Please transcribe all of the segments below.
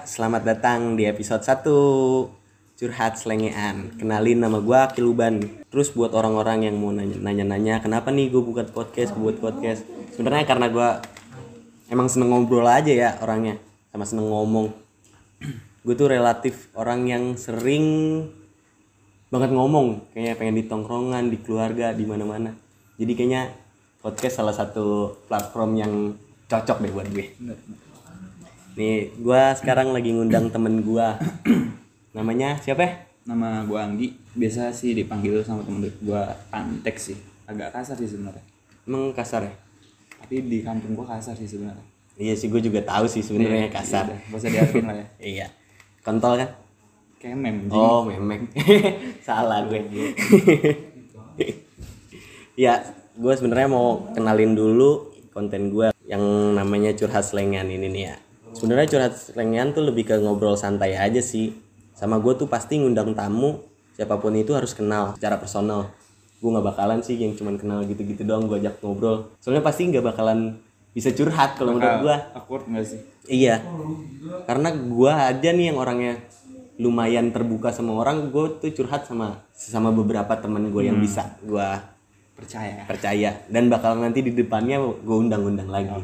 selamat datang di episode 1 Curhat Selengean Kenalin nama gue Kiluban Terus buat orang-orang yang mau nanya- nanya-nanya Kenapa nih gue bukan podcast, gue buat podcast sebenarnya karena gue emang seneng ngobrol aja ya orangnya Sama seneng ngomong Gue tuh relatif orang yang sering banget ngomong Kayaknya pengen di tongkrongan, di keluarga, di mana-mana Jadi kayaknya podcast salah satu platform yang cocok deh buat gue Nih, gua sekarang lagi ngundang temen gua. Namanya siapa ya? Nama gua Anggi, biasa sih dipanggil sama temen gua Antek sih. Agak kasar sih sebenarnya. Emang kasar ya? Tapi di kampung gua kasar sih sebenarnya. Iya sih, gua juga tahu sih sebenarnya Iya, kasar. Udah, Bisa diakuin lah ya. Iya. Kontol kan? Kayak mem. Ji. Oh, memek. Salah gue. ya, gua sebenarnya mau kenalin dulu konten gua yang namanya curhat selengan ini nih ya. Sebenarnya curhat selengan tuh lebih ke ngobrol santai aja sih. Sama gue tuh pasti ngundang tamu siapapun itu harus kenal secara personal. Gue nggak bakalan sih yang cuman kenal gitu-gitu doang gue ajak ngobrol. Soalnya pasti nggak bakalan bisa curhat kalau menurut gue. Awkward nggak sih? Iya. Karena gua aja nih yang orangnya lumayan terbuka sama orang, gue tuh curhat sama sama beberapa temen gue yang bisa gua Percaya. percaya dan bakal nanti di depannya gue undang-undang lagi.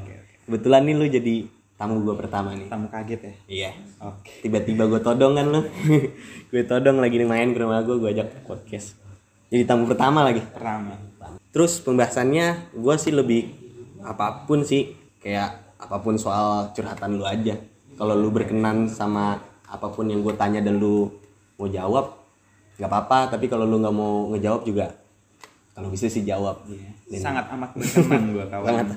Kebetulan nih lu jadi tamu gua pertama nih. Tamu kaget ya. Iya. Oke. Tiba-tiba gue todong kan lu. gue todong lagi nih main ke rumah gue, gue ajak podcast. Jadi tamu pertama lagi. Pertama. Terus pembahasannya gue sih lebih apapun sih kayak apapun soal curhatan lu aja. Kalau lu berkenan sama apapun yang gue tanya dan lu mau jawab nggak apa-apa. Tapi kalau lu nggak mau ngejawab juga kalau bisa sih jawab. Iya. Sangat amat berkenan gua kawan.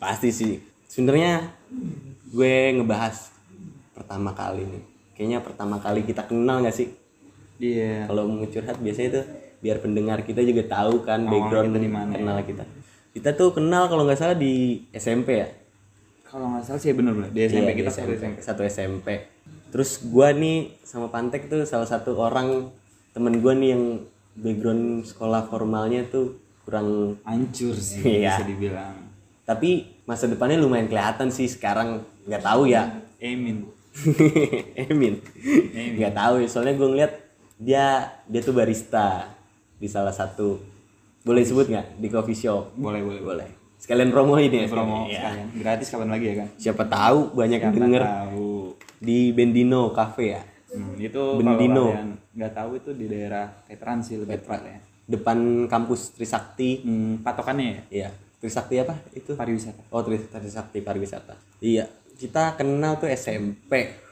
Pasti sih. Sebenarnya gue ngebahas pertama kali nih. Kayaknya pertama kali kita kenal gak sih? Iya. kalau mau curhat biasanya itu biar pendengar kita juga tahu kan background kita di mana, ya. kenal kita kita tuh kenal kalau nggak salah di SMP ya Kalau nggak salah sih bener bener. Di SMP Iya, di kita satu SMP. satu SMP terus gua nih sama Pantek tuh salah satu orang temen gua nih yang background sekolah formalnya tuh kurang Hancur sih Iya. bisa dibilang. tapi masa depannya lumayan kelihatan sih sekarang nggak tahu ya Amin. Emin nggak tahu ya soalnya gue ngeliat dia dia tuh barista di salah satu boleh sebut nggak di coffee shop Boleh boleh boleh. boleh sekalian promo ini ya sekalian. Promo Iya. sekalian. Gratis kapan lagi ya kan? siapa tahu banyak yang denger Tahu. di Bendino Cafe ya Hmm, itu kalau Bendino. kalian nggak tahu itu di daerah Veteran sih lebih tepatnya. depan kampus Trisakti Hmm, patokannya ya ya Trisakti apa itu pariwisata. oh Tris- Trisakti pariwisata iya kita kenal tuh SMP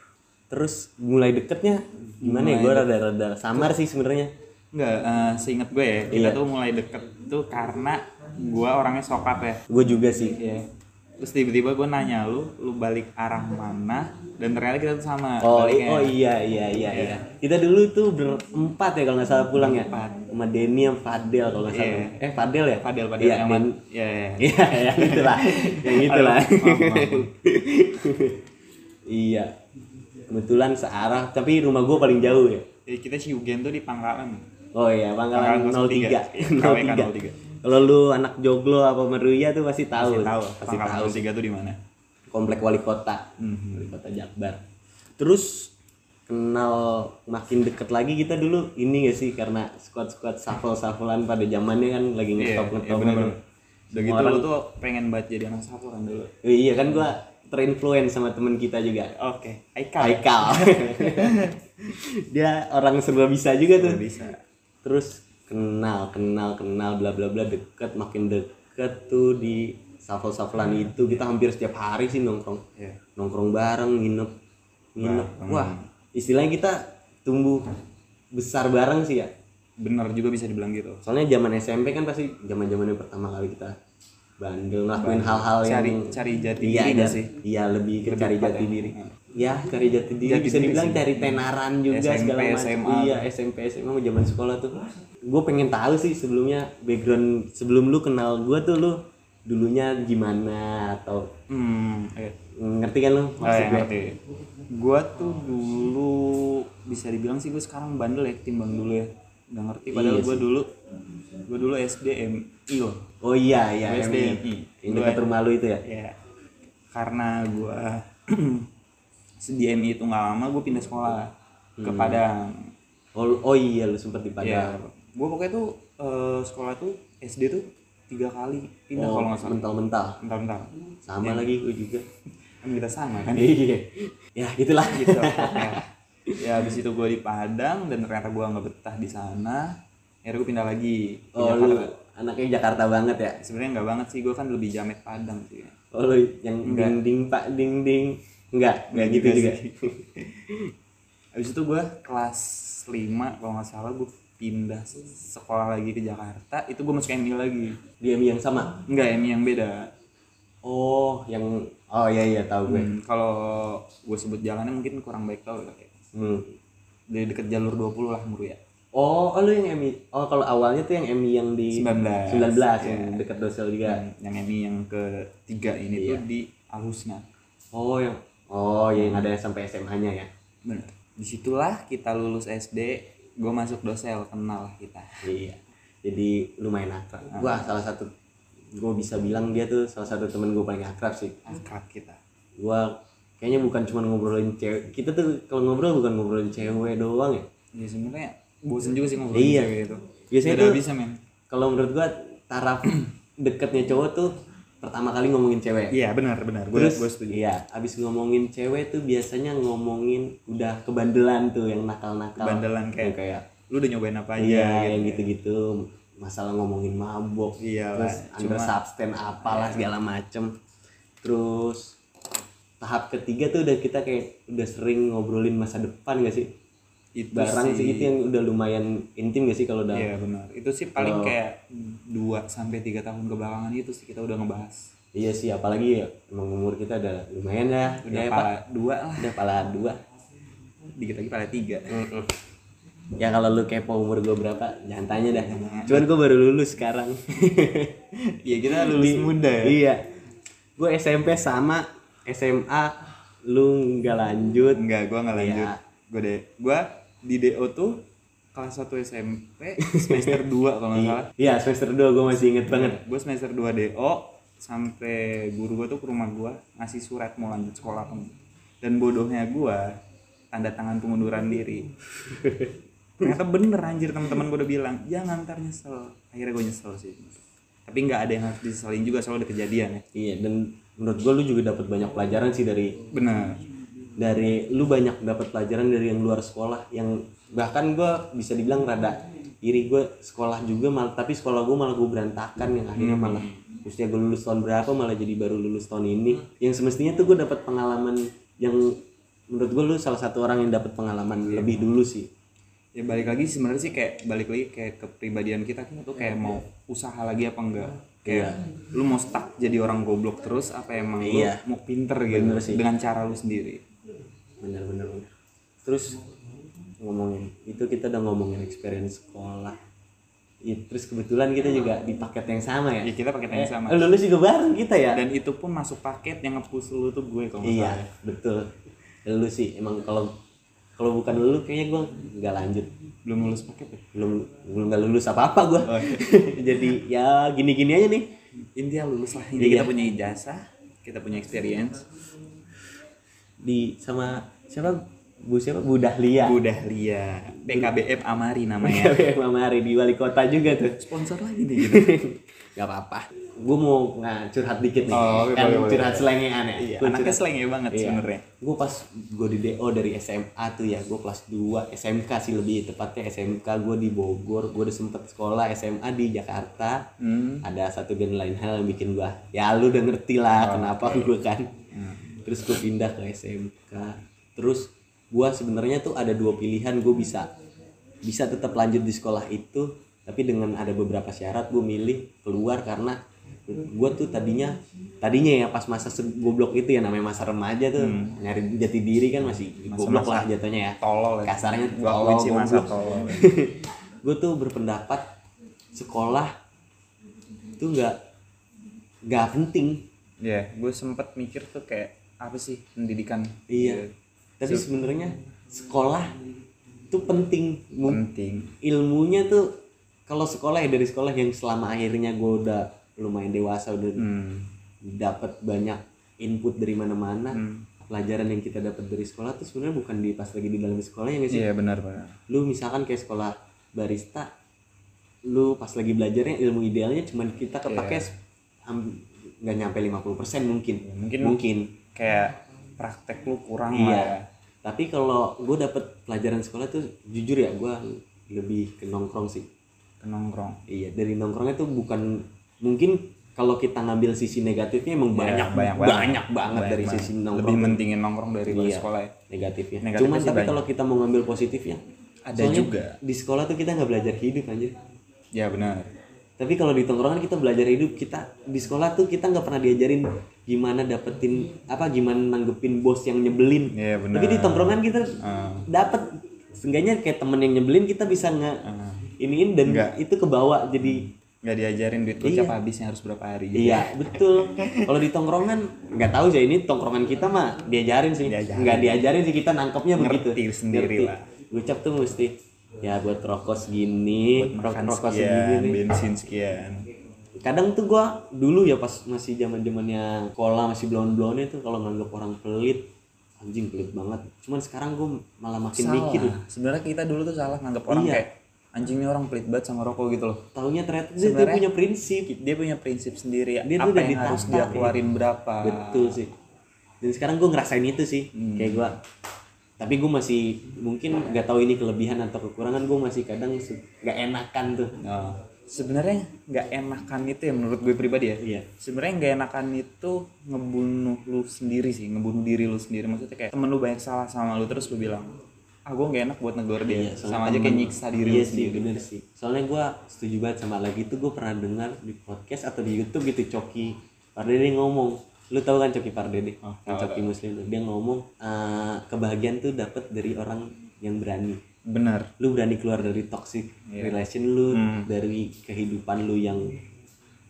terus mulai deketnya gimana ya gue rada-rada samar sih sebenarnya Enggak, eh, seingat gue ya, kita Iya. tuh mulai deket tuh karena gue orangnya sokat ya. gue juga sih Iya. Terus tiba-tiba gue nanya lu, lu balik arah mana? Dan ternyata kita tuh sama. Oh, i- baliknya. oh iya iya iya iya. Kita dulu tuh berempat ya kalau nggak salah pulang ya. Sama Denny sama Fadel kalau nggak salah. Eh Fadel ya? Padel, padel Iya, Iya. yang Den- mat- Iya, iya. Iya, yang itulah. yang itulah. Aduh, maaf, maaf, maaf. iya. Kebetulan searah, tapi rumah gua paling jauh ya. Eh, kita si Ugen tuh di Pangkalan. Oh iya, Pangkalan Pangkalan 03. 03. 03. Kalau lu anak joglo apa meruya tuh pasti tahu. Tahu, pasti Pangkalan tahu. 03 tuh di mana? komplek wali kota wali kota Jakbar terus kenal makin deket lagi kita dulu ini gak sih karena squad squad shuffle shufflean pada zamannya kan Iya, lagi ngetop ngetop kan. bener-bener. Udah gitu lu tuh pengen banget jadi anak sapu kan dulu. iya kan gua terinfluence sama temen kita juga Oke, Aikal. Haikal dia orang serba bisa juga tuh Bisa. terus kenal kenal kenal bla bla bla deket makin deket tuh di shuffle shufflean itu kita hampir setiap hari sih nongkrong Iya. nongkrong bareng nginep nginep wah istilahnya kita tumbuh besar bareng sih ya Bener juga bisa dibilang gitu. soalnya zaman SMP kan pasti zaman zamannya pertama kali kita bandel ngelakuin hal-hal yang Cari cari jati iya diri nggak dan- sih? iya lebih ke cari jati diri ya cari jati diri Jati bisa diri dibilang cari tenaran juga SMP, segala macam SMA. iya SMP SMA mau zaman sekolah tuh gue pengen tahu sih sebelumnya background sebelum lu kenal gue tuh lu dulunya gimana atau Hmm, eh, ngerti kan lu oh, maksud ya, gue ngerti. Gua tuh dulu bisa dibilang sih gue sekarang bandel ya ketimbang dulu ya. Gak ngerti Iya padahal gua dulu gua dulu SDMI loh. Oh iya iya Gua MI. SDMI. ya? Yang dekat rumah lu itu ya? Ya. Karena gua di MI itu nggak lama gue pindah sekolah ke Padang Oh, oh iya lu sempet di ya Hmm. Padang. gue pokoknya tuh eh, sekolah tuh SD tuh tiga kali pindah Oh, Iya, kalau nggak salah Iya. mental-mental. bentar-bentar Sama lagi gue juga. kan kita sama kan Iya. ya, gitulah. gitu pokoknya. ya habis itu gue di Padang dan ternyata gue nggak betah di sana akhirnya gue pindah lagi ke Oh, Jakarta. lu anaknya Jakarta banget ya. sebenarnya nggak banget sih gue kan lebih jamet Padang sih Oh, lu yang ding ding pak ding ding. Enggak, enggak Iya, gitu juga. habis itu gue kelas 5 kalau nggak salah gue pindah sekolah lagi ke Jakarta itu gue masuk MI lagi Dia yang sama. nggak MI yang beda Oh, yang oh iya iya tahu gue. Hmm, kalau gue sebut jalannya mungkin kurang baik tau ya Hmm. dari deket jalur 20 lah ya. Muria Oh, oh, lu yang Emmy. Oh, kalau awalnya tuh yang Emmy yang di 19 19 Iya. yang dekat Dosel juga. Dan yang MI yang ketiga ini tuh di Alusna Oh, yang Oh, yang ada sampai SMH-nya ya. Bener. Disitulah kita lulus SD, gue masuk dosel, kenal lah kita. Iya. Jadi lumayan akrab. Gua salah satu gue bisa bilang dia tuh salah satu temen gue paling akrab sih. Akrab kita. Gua kayaknya bukan cuma ngobrolin cewek. Kita tuh kalau ngobrol bukan ngobrolin cewek doang ya. Ya sebenarnya bosen juga sih ngobrol iya. cewek itu. Biasanya Gak ada tuh- bisa men. Kalau menurut gua taraf deketnya cowok tuh pertama kali ngomongin cewek. Iya benar benar. Gue Terus gue setuju. iya, abis ngomongin cewek tuh biasanya ngomongin udah kebandelan tuh yang nakal-nakal. Bandelan kayak, Yang kayak lu udah nyobain apa aja. iya gitu. yang gitu-gitu masalah ngomongin mabok Iya terus lah, under substance apalah segala macem terus tahap ketiga tuh udah kita kayak udah sering ngobrolin masa depan gak sih Itu barang sih sih. itu yang udah lumayan intim gak sih kalau udah Iya benar. Itu sih paling kayak 2 sampai 3 tahun kebelakangan itu sih kita udah ngebahas. iya sih apalagi ya emang umur kita udah lumayan ya Udah ya, Pak. pala 2 lah. udah pala dua Dikit lagi pala 3. ya kalau lu kepo umur gue berapa jangan tanya dah cuman gue baru lulus sekarang Iya kita lulus muda ya. Iya. Gue SMP sama SMA lu nggak lanjut. Enggak, gua nggak lanjut. Iya. Gua de gua di DO tuh kelas 1 SMP semester 2 kalau nggak salah. Iya, semester 2 gue masih inget banget. Gua semester 2 DO sampai guru gua tuh ke rumah gua ngasih surat mau lanjut sekolah apa enggak. Dan bodohnya gua tanda tangan pengunduran diri. Ternyata bener anjir teman-teman gua udah bilang, jangan ntar nyesel. Akhirnya gua nyesel sih. Tapi nggak ada yang harus disesalin juga soalnya ada kejadian ya. Iya, dan menurut gue lu juga dapat banyak pelajaran sih dari Bener. dari lu banyak dapat pelajaran dari yang luar sekolah yang bahkan gue bisa dibilang rada iri gue sekolah juga mal tapi sekolah gue malah gue berantakan yang akhirnya malah Maksudnya gue lulus tahun berapa malah jadi baru lulus tahun ini yang semestinya tuh gue dapat pengalaman yang menurut gue lu salah satu orang yang dapat pengalaman lebih dulu sih ya balik lagi sebenarnya sih kayak balik lagi kayak kepribadian kita kita tuh kayak mau usaha lagi apa enggak kayak lu mau stuck jadi orang goblok terus apa emang Iya. lu mau pinter gitu Bener sih. dengan cara lu sendiri bener bener bener. terus ngomongin itu kita udah ngomongin experience sekolah Ya, terus kebetulan kita juga di paket yang sama ya, ya kita pakai yang sama Eh, lulus juga bareng kita ya dan itu pun masuk paket yang nge-push lu tuh gue kalau nggak iya salah betul lu sih emang kalau kalau bukan lu kayaknya gue nggak lanjut belum lulus paket ya belum belum nggak lulus apa apa gue Oh, iya. jadi ya gini gini aja nih intinya lulus lah Intinya kita punya ijazah kita punya experience di sama siapa bu siapa bu Dahlia udah lia BKBM Amari namanya Mama Ari di wali kota juga tuh sponsor lagi nih gitu nggak apa-apa gue mau nah, curhat dikit nih Oh, oke, kan boleh, boleh. curhat selengean ya iya, Gua anaknya curhat slang ya banget sebenarnya gue pas gue di DO dari SMA tuh ya gue kelas 2 SMK sih lebih tepatnya SMK gue di Bogor gue udah sempet sekolah SMA di Jakarta Hmm. ada satu dan lain hal yang bikin gue ya lu udah ngerti lah kenapa gue kan terus gue pindah ke SMK terus gue sebenarnya tuh ada dua pilihan gue bisa bisa tetap lanjut di sekolah itu tapi dengan ada beberapa syarat gue milih keluar karena gue tuh tadinya tadinya ya pas masa se- goblok itu ya namanya masa remaja tuh nyari jati diri kan masih goblok lah jatuhnya ya tolol ya. kasarnya Gua akuin sih masa goblok. tolol ya. gue tuh berpendapat sekolah itu nggak nggak penting Iya, gue sempet mikir tuh kayak apa sih pendidikan? iya tapi sebenarnya sekolah itu penting Mung- Penting. ilmunya tuh kalau sekolah ya dari sekolah yang selama akhirnya gue udah lumayan dewasa udah Hmm. dapat banyak input dari mana-mana pelajaran yang kita dapat dari sekolah tuh sebenarnya bukan di pas lagi di dalam sekolah ya nggak sih Iya benar benar. lu misalkan kayak sekolah barista lu pas lagi belajarnya ilmu idealnya cuman kita kepake Iya. se- am- nggak nyampe 50% mungkin Ya, mungkin mungkin kayak praktek lu kurang Iya. lah. ya. tapi kalau gue dapet pelajaran sekolah tuh jujur ya gue lebih ke nongkrong sih Ke nongkrong. iya dari nongkrongnya tuh bukan mungkin kalau kita ngambil sisi negatifnya Iya, emang Ya, banyak, banyak banyak banget dari banget. sisi nongkrong Lebih mentingin nongkrong dari Iya. sekolah ya. negatifnya. Negatifnya Cuman sih tapi banyak. kalau kita mau ngambil positifnya Ada juga. Di sekolah tuh kita nggak belajar hidup anjir. Ya benar. Tapi kalau di tongkrongan kita belajar hidup, kita di sekolah tuh kita nggak pernah diajarin gimana dapetin apa gimana nanggepin bos yang nyebelin. Iya, benar. Ah. Tapi di tongkrongan kita dapet seenggaknya kayak temen yang nyebelin kita bisa nge iniin dan Ah. Nggak. itu kebawa jadi Nggak diajarin duit lu Iya. tiap habisnya harus berapa hari. gitu. Iya betul. Kalau di tongkrongan nggak tahu sih ini tongkrongan kita mah diajarin sih. Diajarin. Nggak diajarin sih kita nangkepnya Ngerti begitu. sendiri Ngerti. lah. Gocap tuh mesti ya buat rokok segini, Buat rok- makan rokok segini kan sekian, nih. bensin sekian. Kadang tuh gua dulu ya pas masih zaman zamannya sekolah masih blon blonnya tuh kalau nganggep orang pelit anjing pelit banget. Cuman sekarang gua malah makin mikir. Salah. Sebenarnya kita dulu tuh salah nganggap orang Iya. kayak anjing nih orang pelit banget sama rokok gitu loh. Taunya ternyata dia tuh Sebenarnya- punya prinsip. Dia punya prinsip sendiri Dia tuh apa udah yang harus ditata, dia iya. keluarin berapa. betul sih dan sekarang gue ngerasain itu sih Hmm. kayak gue tapi gue masih mungkin nggak tahu ini kelebihan atau kekurangan gue masih kadang su- nggak enakan tuh Nah, sebenarnya nggak enakan itu ya menurut gue pribadi ya. Iya. Sebenarnya nggak enakan itu ngebunuh lu sendiri sih, ngebunuh diri lu sendiri. Maksudnya kayak temen lu banyak salah sama lu terus lu bilang, ah gue nggak enak buat negor dia. soalnya sama Iya, aja kayak temen- nyiksa diri iya lu sih sendiri. bener sih soalnya gue setuju banget sama lagi tuh gue pernah dengar di podcast atau di YouTube gitu Coki Pardede ngomong lu tahu kan Coki Pardede Oh, Yang tahu, Coki Muslim tuh dia ngomong "Eh, kebahagiaan tuh dapat dari orang yang berani Bener. lu berani keluar dari toxic Iya. relation lu Hmm. dari kehidupan lu yang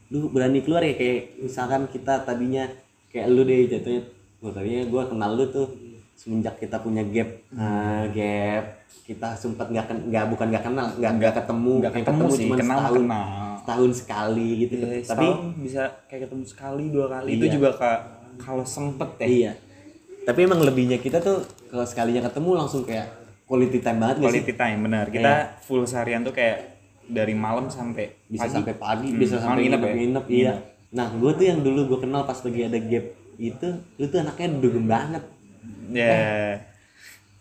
lu berani keluar ya kayak misalkan kita tadinya kayak lu deh jatuhnya gua tadinya gua kenal lu tuh semenjak kita punya gap Ah, gap kita sempat nggak ken- nggak bukan nggak kenal nggak nggak ketemu Nggak Yang ketemu, sih, cuman kenal mah setahun kenal. setahun sekali gitu Iya, tapi setahun bisa kayak ketemu sekali dua kali itu Iya. juga ka- kalau sempet ya. iya tapi emang lebihnya kita tuh kalau sekalinya ketemu langsung kayak quality time banget nggak sih Iya. Quality time bener. Kita full seharian tuh kayak dari malam sampai bisa pagi. sampai pagi Hmm, bisa malah sampai nginep nginep, ya? nginep iya nah gue tuh yang dulu gue kenal pas lagi ada gap itu lu tuh anaknya dugem banget Ya. Eh.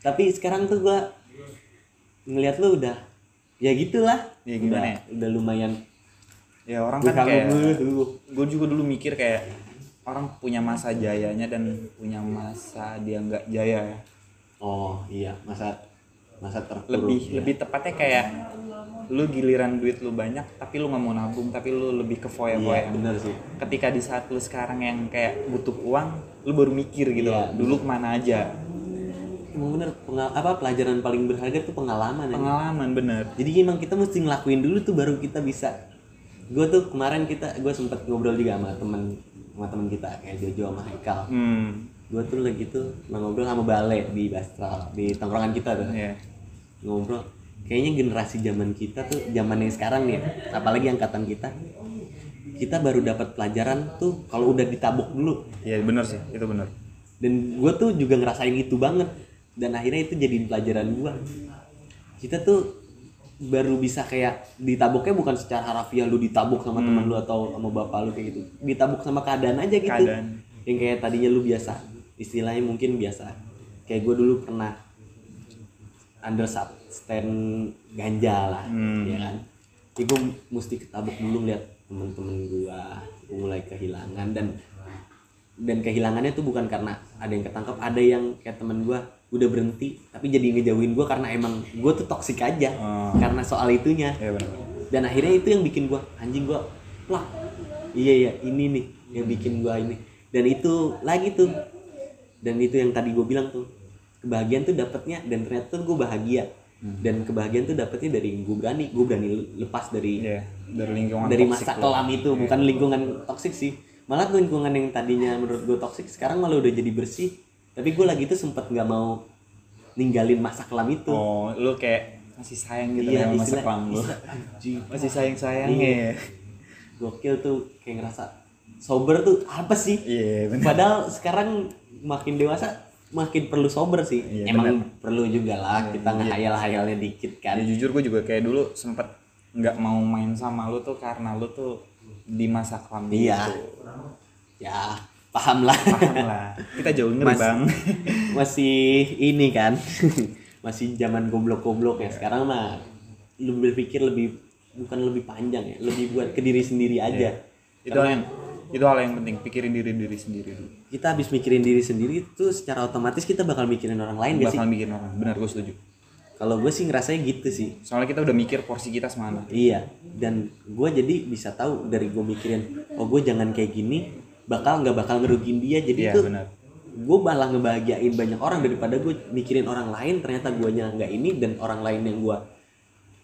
tapi sekarang tuh gue ngelihat lu udah ya gitulah Ya, udah, gimana ya? udah lumayan Ya orang gue kan kayak dulu gue juga dulu mikir kayak orang punya masa jayanya dan punya masa dia nggak jaya ya. oh iya masa masa terpuruk lebih ya. lebih tepatnya kayak lu giliran duit lu banyak tapi lu nggak mau nabung tapi lu lebih ya. ke foya iya foya bener sih ketika di saat lu sekarang yang kayak butuh uang lu baru mikir gitu Iya, dulu kemana aja emang bener pengal- apa pelajaran paling berharga tuh pengalaman ya. pengalaman bener jadi emang kita mesti ngelakuin dulu tuh baru kita bisa gue tuh kemarin kita gue sempet ngobrol juga sama temen sama temen kita kayak Jojo sama Haikal hmm gue tuh lagi tuh ngobrol sama Bale di Bastra di tongkrongan kita tuh ya ngobrol kayaknya generasi zaman kita tuh zaman yang sekarang nih ya, apalagi angkatan kita kita baru dapat pelajaran tuh kalau udah ditabok dulu ya bener sih itu bener dan gue tuh juga ngerasain itu banget dan akhirnya itu jadi pelajaran gue kita tuh baru bisa kayak ditaboknya bukan secara harafiah lu ditabok sama teman lu atau sama bapak lu kayak gitu ditabok sama keadaan aja gitu Keadaan. yang kayak tadinya lu biasa istilahnya mungkin biasa kayak gue dulu pernah under substance ganja lah Hmm. ya kan jadi gue mesti ketabok dulu lihat temen-temen gue gue mulai kehilangan dan dan kehilangannya tuh bukan karena ada yang ketangkep ada yang kayak temen gue udah berhenti tapi jadi ngejauhin gue karena emang gue tuh toksik aja Oh. karena soal itunya ya bener dan akhirnya itu yang bikin gua anjing gua lah iya iya ini nih yang bikin gua ini dan itu lagi tuh dan itu yang tadi gua bilang tuh kebahagiaan tuh dapatnya dan ternyata tuh gua bahagia Hmm. dan kebahagiaan tuh dapatnya dari gua berani gua berani lepas dari ya dari lingkungan dari toxic Iya, masa lu. kelam itu bukan lingkungan toksik sih malah lingkungan yang tadinya menurut gue toksik sekarang malah udah jadi bersih tapi gue lagi tuh sempet nggak mau ninggalin masa kelam itu oh lu kayak masih sayang gitu Iya, ya sama masa istilah- kelam lu istilah- anjing. Iya. masih sayang sayangnya ya gokil tuh kayak ngerasa sober tuh apa sih iya bener padahal sekarang makin dewasa makin perlu sober sih Iya, emang perlu juga lah kita ngehayal-hayalnya dikit kan ya jujur gue juga kayak dulu sempet nggak mau main sama lu tuh karena lu tuh di masa kelam Iya. gitu. ya paham lah Paham lah kita jauh ngeri Mas- bang masih ini kan masih zaman goblok-goblok ya sekarang mah lu berpikir lebih bukan lebih panjang ya lebih buat ke diri sendiri aja itu hal yang itu hal yang penting pikirin diri diri sendiri dulu kita habis mikirin diri sendiri itu secara otomatis kita bakal mikirin orang lain gak Iya sih bakal bikin orang benar gue setuju kalau gue sih ngerasanya gitu sih soalnya kita udah mikir porsi kita semana iya dan gue jadi bisa tahu dari gue mikirin oh gue jangan kayak gini bakal nggak bakal ngerugiin dia jadi iya itu benar gue malah ngebahagiain banyak orang daripada gue mikirin orang lain ternyata guanya nggak ini dan orang lain yang gue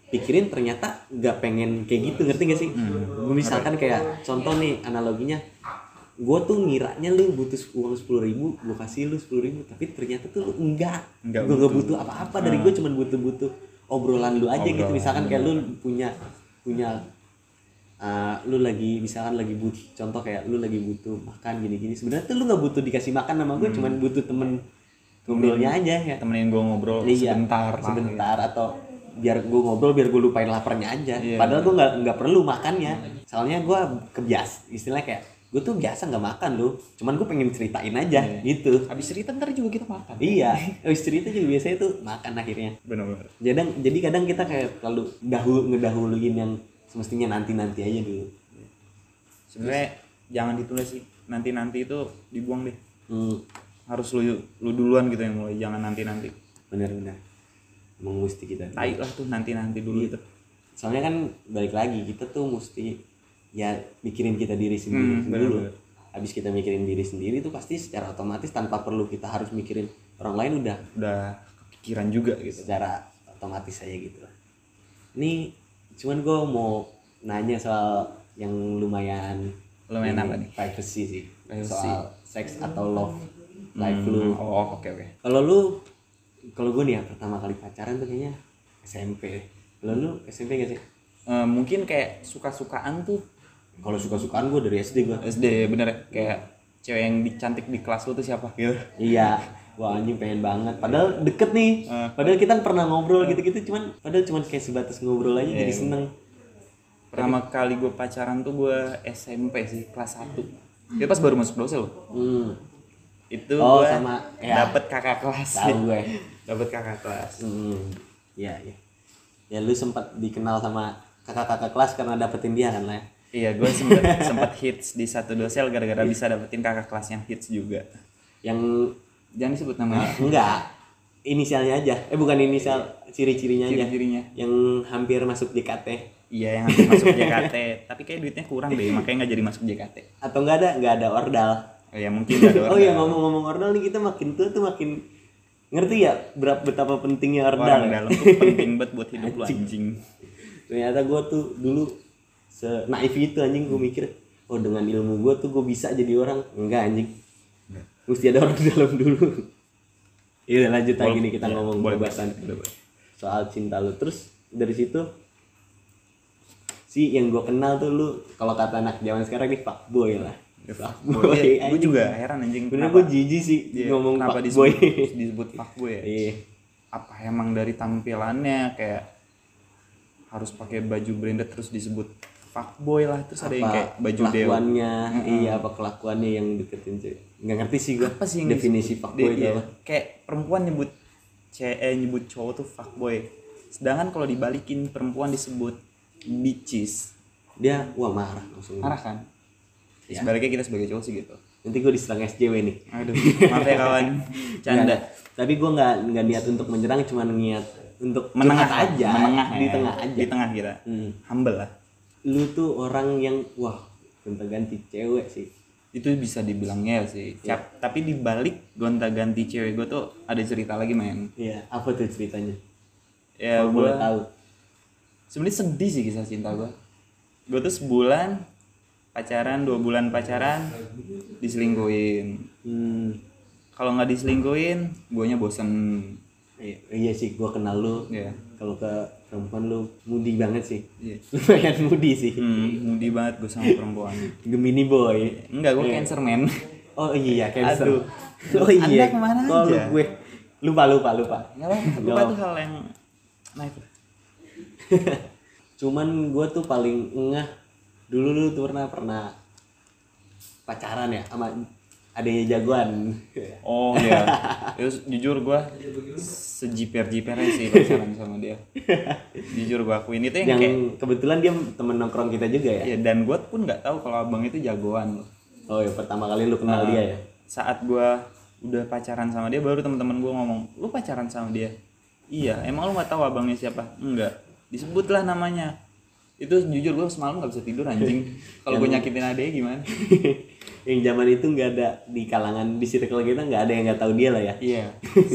pikirin ternyata nggak pengen kayak gitu ngerti gak sih misalkan kayak contoh nih analoginya gue tuh ngiranya lu butuh uang sepuluh ribu gue kasih lu sepuluh ribu tapi ternyata tuh lu enggak Nggak gue nggak butuh apa-apa dari gue cuman butuh-butuh obrolan lu aja gitu Obrolan, misalkan kayak lu punya punya Uh, lu lagi misalkan lagi butuh contoh kayak lu lagi butuh makan gini-gini sebenarnya tuh lu nggak butuh dikasih makan sama Hmm. gue cuman butuh temen ngobrolnya aja ya temenin gue ngobrol Iya, sebentar lah. sebentar atau biar gue ngobrol biar gue lupain laparnya aja Iya. padahal gue nggak nggak perlu makannya soalnya gue kebias istilahnya kayak gue tuh biasa nggak makan lu cuman gue pengen ceritain aja Iya. gitu habis cerita ntar juga kita makan iya habis cerita juga biasanya tuh makan akhirnya benar-benar jadi jadi kadang kita kayak terlalu dahulu ngedahuluin yang semestinya nanti nanti aja dulu sebenarnya jangan ditulis sih nanti nanti itu dibuang deh hmm. harus lu lu duluan gitu yang mulai jangan nanti nanti benar-benar emang mesti kita tai lah tuh nanti nanti dulu Iya. itu soalnya kan balik lagi kita tuh mesti ya mikirin kita diri sendiri Hmm, dulu benar-benar. habis kita mikirin diri sendiri tuh pasti secara otomatis tanpa perlu kita harus mikirin orang lain udah udah kepikiran juga gitu secara otomatis aja gitu lah ini cuman gue mau nanya soal yang lumayan Lumayan ini, apa nih? privacy sih Privacy. soal seks atau love life lu Hmm, oh oke oke kalau lu kalau gue nih ya pertama kali pacaran tuh kayaknya SMP kalau lu SMP gak sih Eh, mungkin kayak suka sukaan tuh kalau suka-sukaan gue dari SD gue SD bener ya? kayak cewek yang dicantik di kelas lu tuh siapa gitu iya wah anjing pengen banget padahal deket nih Eh. padahal kita pernah ngobrol gitu-gitu cuman padahal cuman kayak sebatas ngobrol aja jadi seneng pertama kali gue pacaran tuh gue SMP sih kelas 1 itu pas baru masuk dosen loh hmm, itu Oh, gue sama, ya. dapet kakak kelas tahu gue dapet kakak kelas hmm, iya iya ya lu sempat dikenal sama kakak-kakak kelas karena dapetin dia kan lah ya iya gue sempet sempet hits di satu dosel gara-gara Iya. bisa dapetin kakak kelas yang hits juga yang jangan disebut namanya Ah. enggak inisialnya aja eh bukan inisial ciri-cirinya aja ciri-cirinya yang hampir masuk JKT iya yang hampir masuk JKT tapi kayak duitnya kurang deh makanya nggak jadi masuk JKT atau enggak ada enggak ada ordal oh, ya mungkin nggak ada oh orang. ya ngomong-ngomong ordal nih kita makin tua tuh makin ngerti ya berapa betapa pentingnya orang ordal. ya? dalam tuh penting banget buat hidup lu anjing Ternyata gue tuh dulu se naif itu anjing gue mikir oh dengan ilmu gue tuh gue bisa jadi orang enggak anjing mesti ada orang dalam dulu. Iya lanjut lagi nih kita ngomong Boleh, pembahasan boleh, boleh. soal cinta lu terus dari situ si yang gue kenal tuh lu kalau kata anak zaman sekarang nih pak boy lah pak boy gue Ya, juga heran anjing bener kenapa- gue jijik sih Iya, ngomong kenapa pak disebut, Iya, boy disebut fuckboy ya? iya apa emang dari tampilannya kayak harus pakai baju branded terus disebut fuckboy lah terus ada yang apa kayak baju dewa Hmm. kelakuannya iya apa kelakuannya yang deketin cewek nggak ngerti sih gue apa sih yang definisi disebut? fuckboy Dia- itu iya, apa kayak perempuan nyebut ce- eh, nyebut cowok tuh fuckboy sedangkan kalau dibalikin perempuan disebut bitches dia wah marah langsung marah kan Ya, sebaliknya kita sebagai cowok sih gitu nanti gue diserang SJW nih aduh maaf ya kawan Iya, canda Nggak, tapi gue nggak nggak niat untuk menyerang cuma niat untuk menengah curhat aja menengah di ya. tengah aja di tengah kita Hmm. humble lah lu tuh orang yang wah gonta-ganti cewek sih itu bisa dibilangnya sih Iya. Cap- tapi di balik gonta ganti cewek gue tuh ada cerita lagi main iya apa tuh ceritanya ya Kalau Oh, gue boleh tahu sebenarnya sedih sih kisah cinta gue gue tuh sebulan pacaran dua bulan pacaran diselingkuhin hmm, kalau nggak diselingkuhin guanya bosen iya, iya sih gue kenal lu ya kalau ke perempuan lu mudi banget sih Iya. lumayan mudi sih hmm, mudi banget gue sama perempuan Gemini boy enggak gue cancer man Oh iya, cancer. Aduh. Oh iya. Anda kemana Oh, lu aja? gue lupa lupa lupa. Nggak apa-apa, lupa tuh hal yang naik Cuman gue tuh paling ngeh dulu lu tuh pernah pernah pacaran ya sama adanya jagoan. Oh iya. Terus jujur gua sejiper-jipernya sih pacaran sama dia. Jujur gua akuin itu yang, yang kayak kebetulan dia temen nongkrong kita juga ya. ya dan gua pun nggak tahu kalau abang itu jagoan loh. Oh ya pertama kali lu Ah. kenal dia ya. Saat gua udah pacaran sama dia baru teman-teman gua ngomong, "Lu pacaran sama dia?" Iya, emang lu nggak tahu abangnya siapa? Enggak. Disebutlah namanya. Itu jujur gua semalam nggak bisa tidur anjing. Kalau gua nyakitin adeknya gimana? yang zaman itu nggak ada di kalangan di circle kita nggak ada yang nggak tahu dia lah ya. Iya,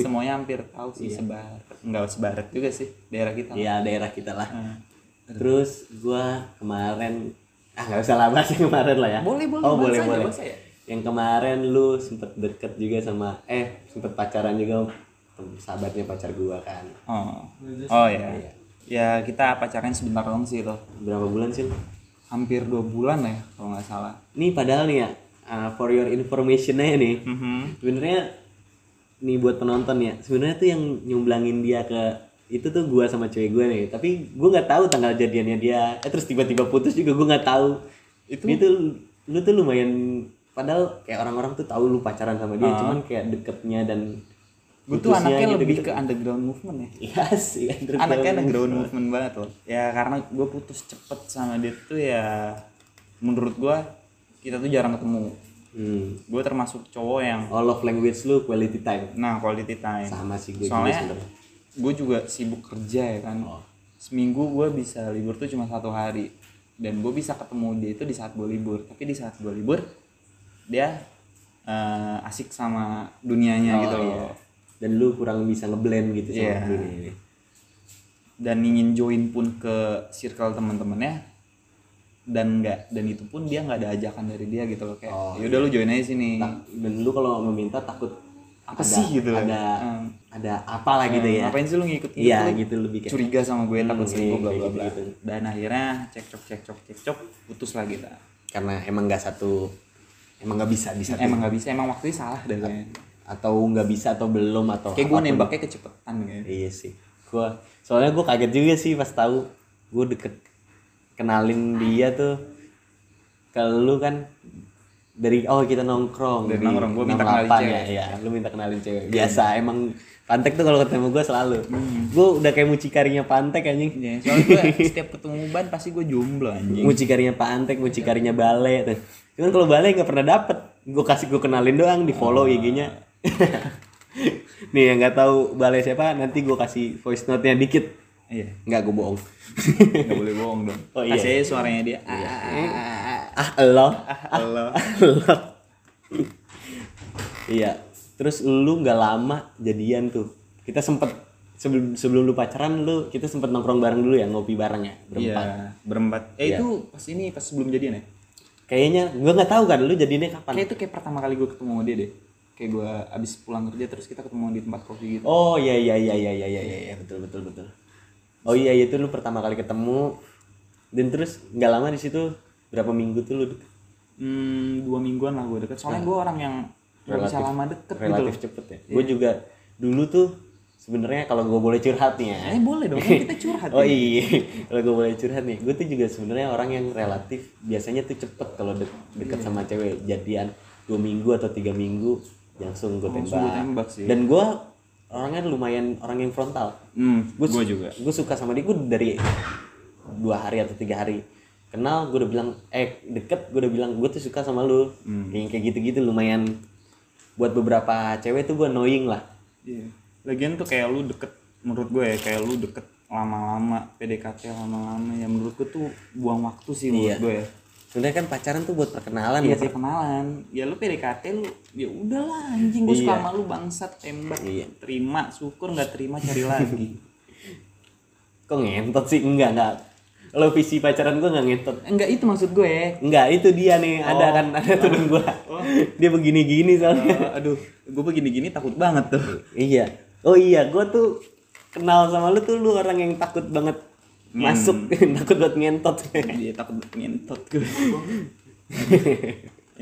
semuanya hampir tahu sih sebar. Enggak sebarat juga sih daerah kita. Ya daerah kita lah. Hmm. Terus gua kemarin ah nggak usah lah bahas yang kemarin lah ya. Boleh, boleh, Oh bahas boleh aja, boleh. bahas aja. Yang kemarin lu sempet deket juga sama eh sempet pacaran juga sama sahabatnya pacar gua kan. Oh, oh ya. Ya kita pacaran sebentar dong sih itu. Berapa bulan sih? lu? Hampir dua bulan ya kalau nggak salah. Nih padahal nih ya uh, for your information aja nih. Mhm. Sebenarnya nih buat penonton ya. Sebenarnya tuh yang nyumblangin dia ke itu tuh gua sama cewek gua nih. Tapi gua nggak tahu tanggal jadiannya dia. Eh terus tiba-tiba putus juga gua nggak tahu. Itu itu lu tuh lumayan padahal kayak orang-orang tuh tahu lu pacaran sama dia, cuman kayak deketnya dan Gue Ah. tuh putusnya anaknya gitu-gitu. lebih ke underground movement ya. Iya sih, underground. Anaknya underground movement banget loh. Ya karena gue putus cepet sama dia tuh ya. Menurut gue kita tuh jarang ketemu. Hmm. Gue termasuk cowok yang All of language lu quality time. nah quality time. Sama sih gue juga Soalnya gitu sebenarnya. Oh. gue juga sibuk kerja ya kan. Seminggu gue bisa libur tuh cuma satu hari dan gue bisa ketemu dia itu di saat gue libur. Tapi di saat gue libur dia eh, asik sama Oh, dunianya gitu loh. iya. Dan lu kurang bisa ngeblend gitu sama Iya. dunia ini. Dan ingin join pun ke circle teman-temannya dan enggak dan itu pun dia nggak ada ajakan dari dia gitu loh kayak Oh, ya udah lu join aja sini Tak- dan lu kalau meminta takut Apa sih gitu? ada Hmm. ada apalah gitu ya ngapain sih lu ngikut iya gitu gitu lebih kayak curiga sama gue takut Hmm, iya, selingkuh kayak bla bla bla gitu-gitu. dan akhirnya cekcok cekcok cekcok putus lah kita karena emang nggak satu emang nggak bisa bisa emang nggak bisa emang waktunya salah dasarnya atau nggak bisa atau belum atau kayak gue apapun. nembaknya kecepetan kayak iya sih gua soalnya gua kaget juga sih pas tahu gua deket kenalin dia tuh kalau lu kan dari oh kita nongkrong Dari di nongkrong, gua minta 68 kenalin Iya. ya, ya lu minta kenalin cewek biasa emang Pantek tuh kalau ketemu gua selalu Hmm. gua udah kayak mucikarinya Pantek anjing Iya, soalnya gue setiap ketemu ban pasti gue jomblo anjing mucikarinya Pak Antek, mucikarinya Bale tuh. Cuman kalau Bale nggak pernah dapet, gue kasih gue kenalin doang di follow IG-nya. Nih yang nggak tahu Bale siapa, nanti gue kasih voice note-nya dikit. iya Nggak gue bohong. nggak boleh bohong dong Oh, iya. kasih aja suaranya dia ah, ah lo, Allah lo. Iya. Terus lu nggak lama jadian tuh. Kita sempet sebelum sebelum lu pacaran lu kita sempet nongkrong bareng dulu ya ngopi bareng ya iya berempat. berempat eh itu pas ini pas sebelum jadian ya Kayaknya gue nggak tahu kan lu jadinya kapan. kayak itu kayak pertama kali gue ketemu sama dia deh kayak gue abis pulang kerja terus kita ketemu di tempat kopi gitu Oh iya iya iya iya iya iya iya iya, betul betul betul. Oh iya iya, itu lu pertama kali ketemu dan terus nggak lama di situ berapa minggu tuh lu deket? hmm, dua mingguan lah gue deket soalnya gue orang yang nggak bisa lama deket gitu relatif cepet ya. Gue juga dulu tuh sebenarnya kalau gue boleh curhat nih ya. eh boleh dong kan kita curhat Oh iya, kalau gue boleh curhat nih, gue tuh juga sebenarnya orang yang relatif biasanya tuh cepet kalau de- deket Iya. sama cewek jadian dua minggu atau tiga minggu langsung gue tembak. Langsung gue tembak sih. Dan gue orangnya lumayan orang yang frontal. hmm, gue gue juga gue suka sama dia gue dari dua hari atau tiga hari kenal gue udah bilang eh deket gue udah bilang gue tuh suka sama lu yang kayak gitu-gitu lumayan buat beberapa cewek tuh gue annoying lah Iya. Lagian tuh kayak lu deket menurut gue ya kayak lu deket lama-lama PDKT lama-lama ya menurut gue tuh buang waktu sih menurut gue ya. sebenarnya kan pacaran tuh buat perkenalan ya Iya sih kenalan. Ya lu PDKT lu ya udahlah anjing gue suka sama lu bangsat tembak. Iya. Terima syukur nggak terima cari lagi. kok ngentot sih enggak enggak lo visi pacaran gue nggak ngentot Enggak itu maksud ya. gue. enggak itu dia nih ada kan ada temen gue dia begini-gini soalnya Eh, aduh, gue begini-gini takut banget tuh. Iya. Oh iya, gue tuh kenal sama lu tuh lu orang yang takut banget masuk, takut buat ngentot. Dia takut banget ngentot gue.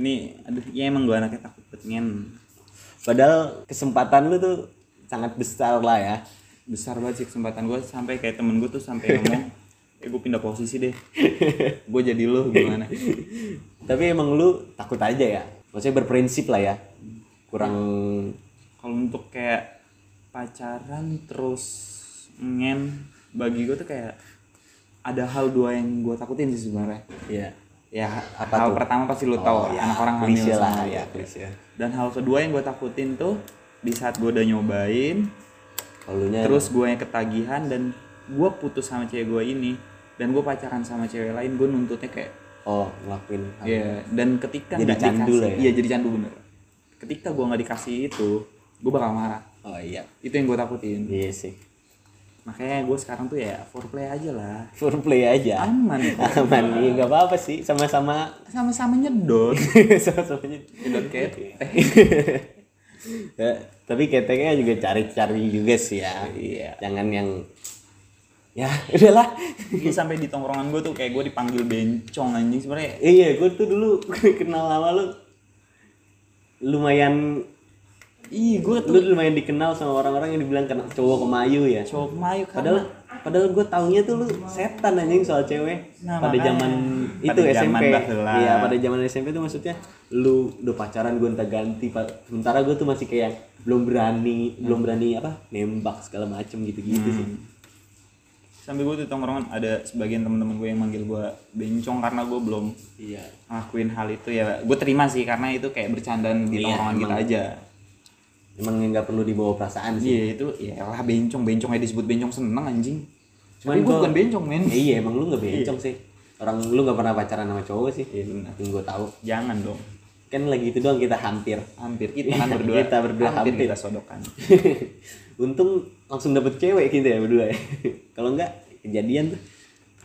Ini aduh, ya emang gue anaknya takut banget. pengen Padahal kesempatan lu tuh sangat besar lah ya. besar banget sih kesempatan gue sampai kayak temen gue tuh sampai ngomong eh gue pindah posisi deh gue jadi lo gimana Tapi emang lu takut aja ya. Maksudnya berprinsip lah ya. Kurang kalau untuk kayak pacaran terus ngen bagi gue tuh kayak ada hal dua yang gue takutin sih sebenarnya ya ya Apa hal tuh? pertama pasti lo Oh, tau ya, anak orang hamil klise lah sama. gitu ya, klise. dan hal kedua yang gue takutin tuh di saat gue udah Eh. nyobain Kalunya terus gue yang ketagihan dan gue putus sama cewek gue ini dan gue pacaran sama cewek lain gue nuntutnya kayak oh ngelakuin hal- Iya, dan ketika Jadi nggak candu dikasih, lah ya. iya jadi candu bener. Ketika gua nggak dikasih itu, gua bakal marah. Oh iya. Itu yang gua takutin. Iya sih. Makanya gua sekarang tuh ya foreplay aja lah. Foreplay aja. Aman. Aman iya nggak apa-apa sih sama-sama Sama-sama nyedot. sama-samanya. nyedot kete. Ya, tapi keteknya juga cari-cari juga sih ya. Iya. Jangan yang ya udahlah. Gua Iya, sampai di tongkrongan gua tuh kayak gua dipanggil bencong anjing sebenarnya. iya, gue tuh dulu kenal lama lu lumayan Ih, gua tuh lu lumayan dikenal sama orang-orang yang dibilang kena cowok kemayu ya. cowok mayu kan. Padahal padahal gue taunya tuh lu setan anjing soal cewek Nah, pada makanya. zaman itu Pada zaman SMP. baheula. Iya, pada zaman SMP tuh maksudnya lu udah pacaran gue entah ganti, Pak. Sementara gue tuh masih kayak belum berani, belum berani apa? nembak segala macem gitu-gitu Hmm. sih. sampai gua di tongkrongan ada sebagian teman-teman gua yang manggil gua bencong karena gua belum Iya. ngakuin hal itu ya gue terima sih karena itu kayak bercandaan di Iya, tongkrongan kita emang. aja Emang nggak perlu dibawa perasaan sih. Iya itu ya lah bencong bencong aja disebut bencong seneng anjing. Cuman Cuman gue gua- bukan bencong men. Eh, iya, emang lu nggak bencong sih. Orang lu nggak pernah pacaran sama cowok sih. Iya, benar. Yang gue tahu. Jangan dong. Kan lagi itu doang kita hampir. Hampir kita kan berdua. Kita berdua hampir, hampir. kita sodokan. Untung langsung dapet cewek gitu ya berdua ya. Kalau enggak kejadian tuh.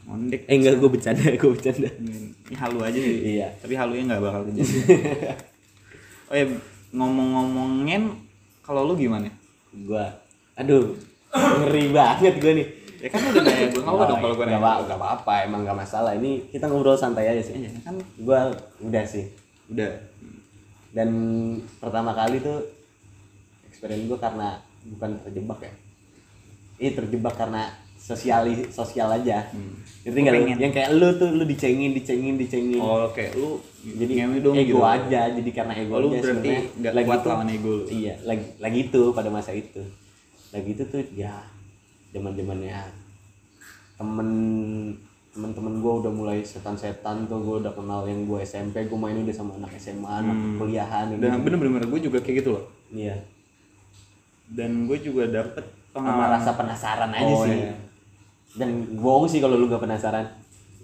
Mondek. Eh enggak gue bercanda, gue bercanda. Ini halu aja sih. Iya. Tapi halunya nggak bakal kejadian. oh ya ngomong-ngomongin kalau lu gimana? Gua aduh ngeri banget gue nih. Ya kan lu udah nanya gue nggak apa dong kalau gue Nggak nanya. apa- nggak apa-apa, emang nggak masalah. Ini kita ngobrol santai aja sih. Iya kan Gua udah sih. udah. Dan pertama kali tuh eksperimen gue karena bukan terjebak ya. Ini terjebak karena sosiali sosial aja. Hmm. Ngerti nggak lu? Pengen. Yang kayak lu tuh lu dicengin, dicengin, dicengin. Oh kayak lu jadi ngewe dong ego gitu. aja jadi karena ego Oh, lu aja berarti sebenarnya nggak lagi kuat itu- lawan ego lu. iya lagi lagi itu pada masa itu lagi itu tuh ya zaman zamannya temen temen temen gue udah mulai setan-setan tuh gue udah kenal yang gue SMP gue main udah sama anak SMA anak Hmm. kuliahan udah Dan bener-bener gue juga kayak gitu loh. iya Dan gue juga dapet sama pengalaman. rasa penasaran aja Oh, sih iya. dan bohong sih kalau lu gak penasaran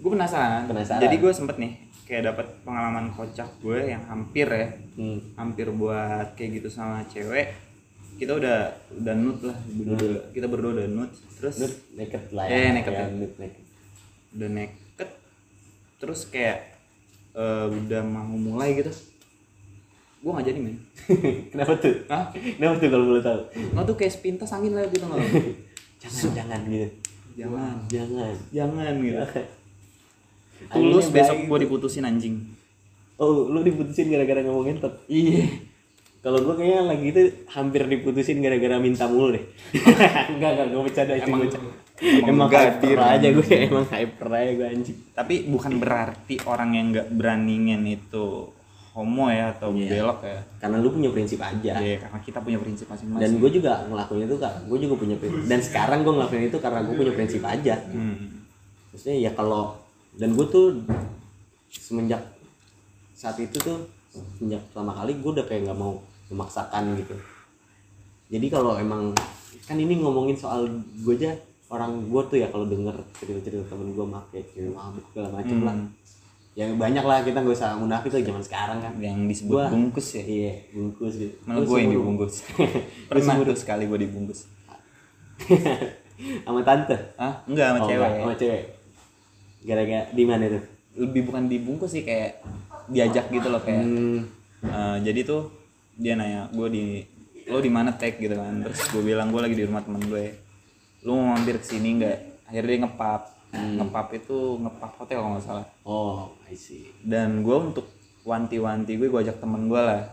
gue penasaran. Penasaran. jadi gue sempet nih kayak dapat pengalaman kocak gue yang hampir ya hmm. hampir buat kayak gitu sama cewek kita udah udah nut lah berdua kita berdua udah nut terus lu naked lah Iya, naked Ya, ya. lu naked. udah naked terus kayak eh, udah mau mulai gitu gue nggak jadi men kenapa tuh Hah? kenapa tuh kalau boleh tahu nggak tuh kayak sepintas angin lah gitu nggak jangan jangan gitu jangan jangan jangan gitu Anginnya tulus baik besok gue diputusin anjing Oh, lu diputusin gara-gara ngomong ngentot. iya Kalau gua kayaknya lagi itu hampir diputusin gara-gara minta mulu deh. enggak, enggak, gua bercanda itu Emang- gua bercanda. emang Emang, gadir, hyper aja gue, emang hyper aja gue anjing. tapi bukan berarti orang yang nggak beraniin itu homo ya atau Iya. belok ya Karena lu punya prinsip aja. Iya, karena kita punya prinsip Dan masing-masing gue juga ngelakuin itu kak, gue juga punya prinsip. Dan sekarang gue ngelakuin itu karena gue punya prinsip aja. Hmm. Maksudnya ya kalau dan gue tuh semenjak saat itu tuh semenjak pertama kali gue udah kayak nggak mau memaksakan gitu. Jadi kalau emang kan ini ngomongin soal gue aja orang gue tuh ya kalau denger cerita-cerita temen gue make cewek mabuk segala macem lah. Hmm. Ya banyak lah kita nggak usah munafik lah zaman sekarang kan. yang disebut Gua- bungkus ya Iya bungkus gitu. Lu malah gue yang seumur- dibungkus pernah tuh sekali gue dibungkus sama tante. ah enggak sama Oh, cewek enggak, Sama cewek. Gara-gara di mana tuh? lebih bukan dibungkus sih kayak diajak gitu loh kayak Hmm, Eh, jadi tuh dia nanya gue di lo di mana tag gitu kan terus gue bilang gue lagi di rumah temen gue lo mau mampir ke sini nggak akhirnya dia ngepap Hmm. ngepap itu ngepap hotel kalau nggak salah Oh, I see. dan gue untuk wanti-wanti gue gue ajak temen gue lah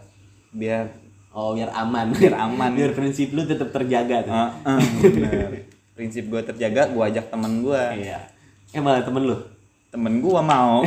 biar Oh biar aman. Biar aman. biar prinsip lu tetap terjaga tuh. Ah, ah, bener. prinsip gue terjaga gue ajak temen gue Iya. Emang temen lu. temen gue mau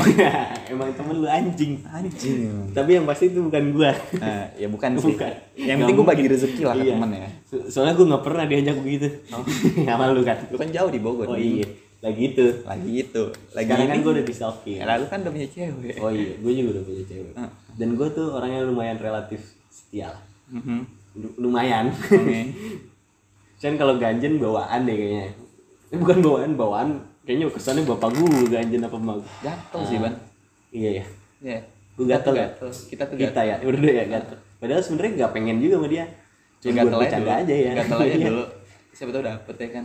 Emang temen lu anjing. anjing Tapi yang pasti itu bukan gua. Eh, ya bukan sih Bukan. yang penting gue bagi rezeki lah ke Iya. temen ya Oh. So- soalnya gua nggak pernah diajak begitu. Sama lu kan. lu kan jauh di Bogor Oh Di- iya. Lagi itu. lagi itu lagi Sekarang kan ini gua udah di selfie. Ya, lalu kan udah punya cewek Oh iya, gue juga udah punya cewek. Heeh. Dan gue tuh orangnya lumayan relatif setia lah. Mhm. Lu- Lumayan. Oke. Cuman kalau ganjen bawaan deh kayaknya. Ini bukan bawaan, bawaan kayaknya kesannya bapak gue ganjen apa emak. gua. gatel Ah. sih ban Iya ya. ya Gue gatel ya. gatel kita tuh gatel Kita ya, udah ya gatel. Padahal sebenarnya nggak pengen juga sama dia. Cuma gatel gatel aja dulu bercanda aja ya. gatel aja Iya. dulu siapa tahu dapet ya kan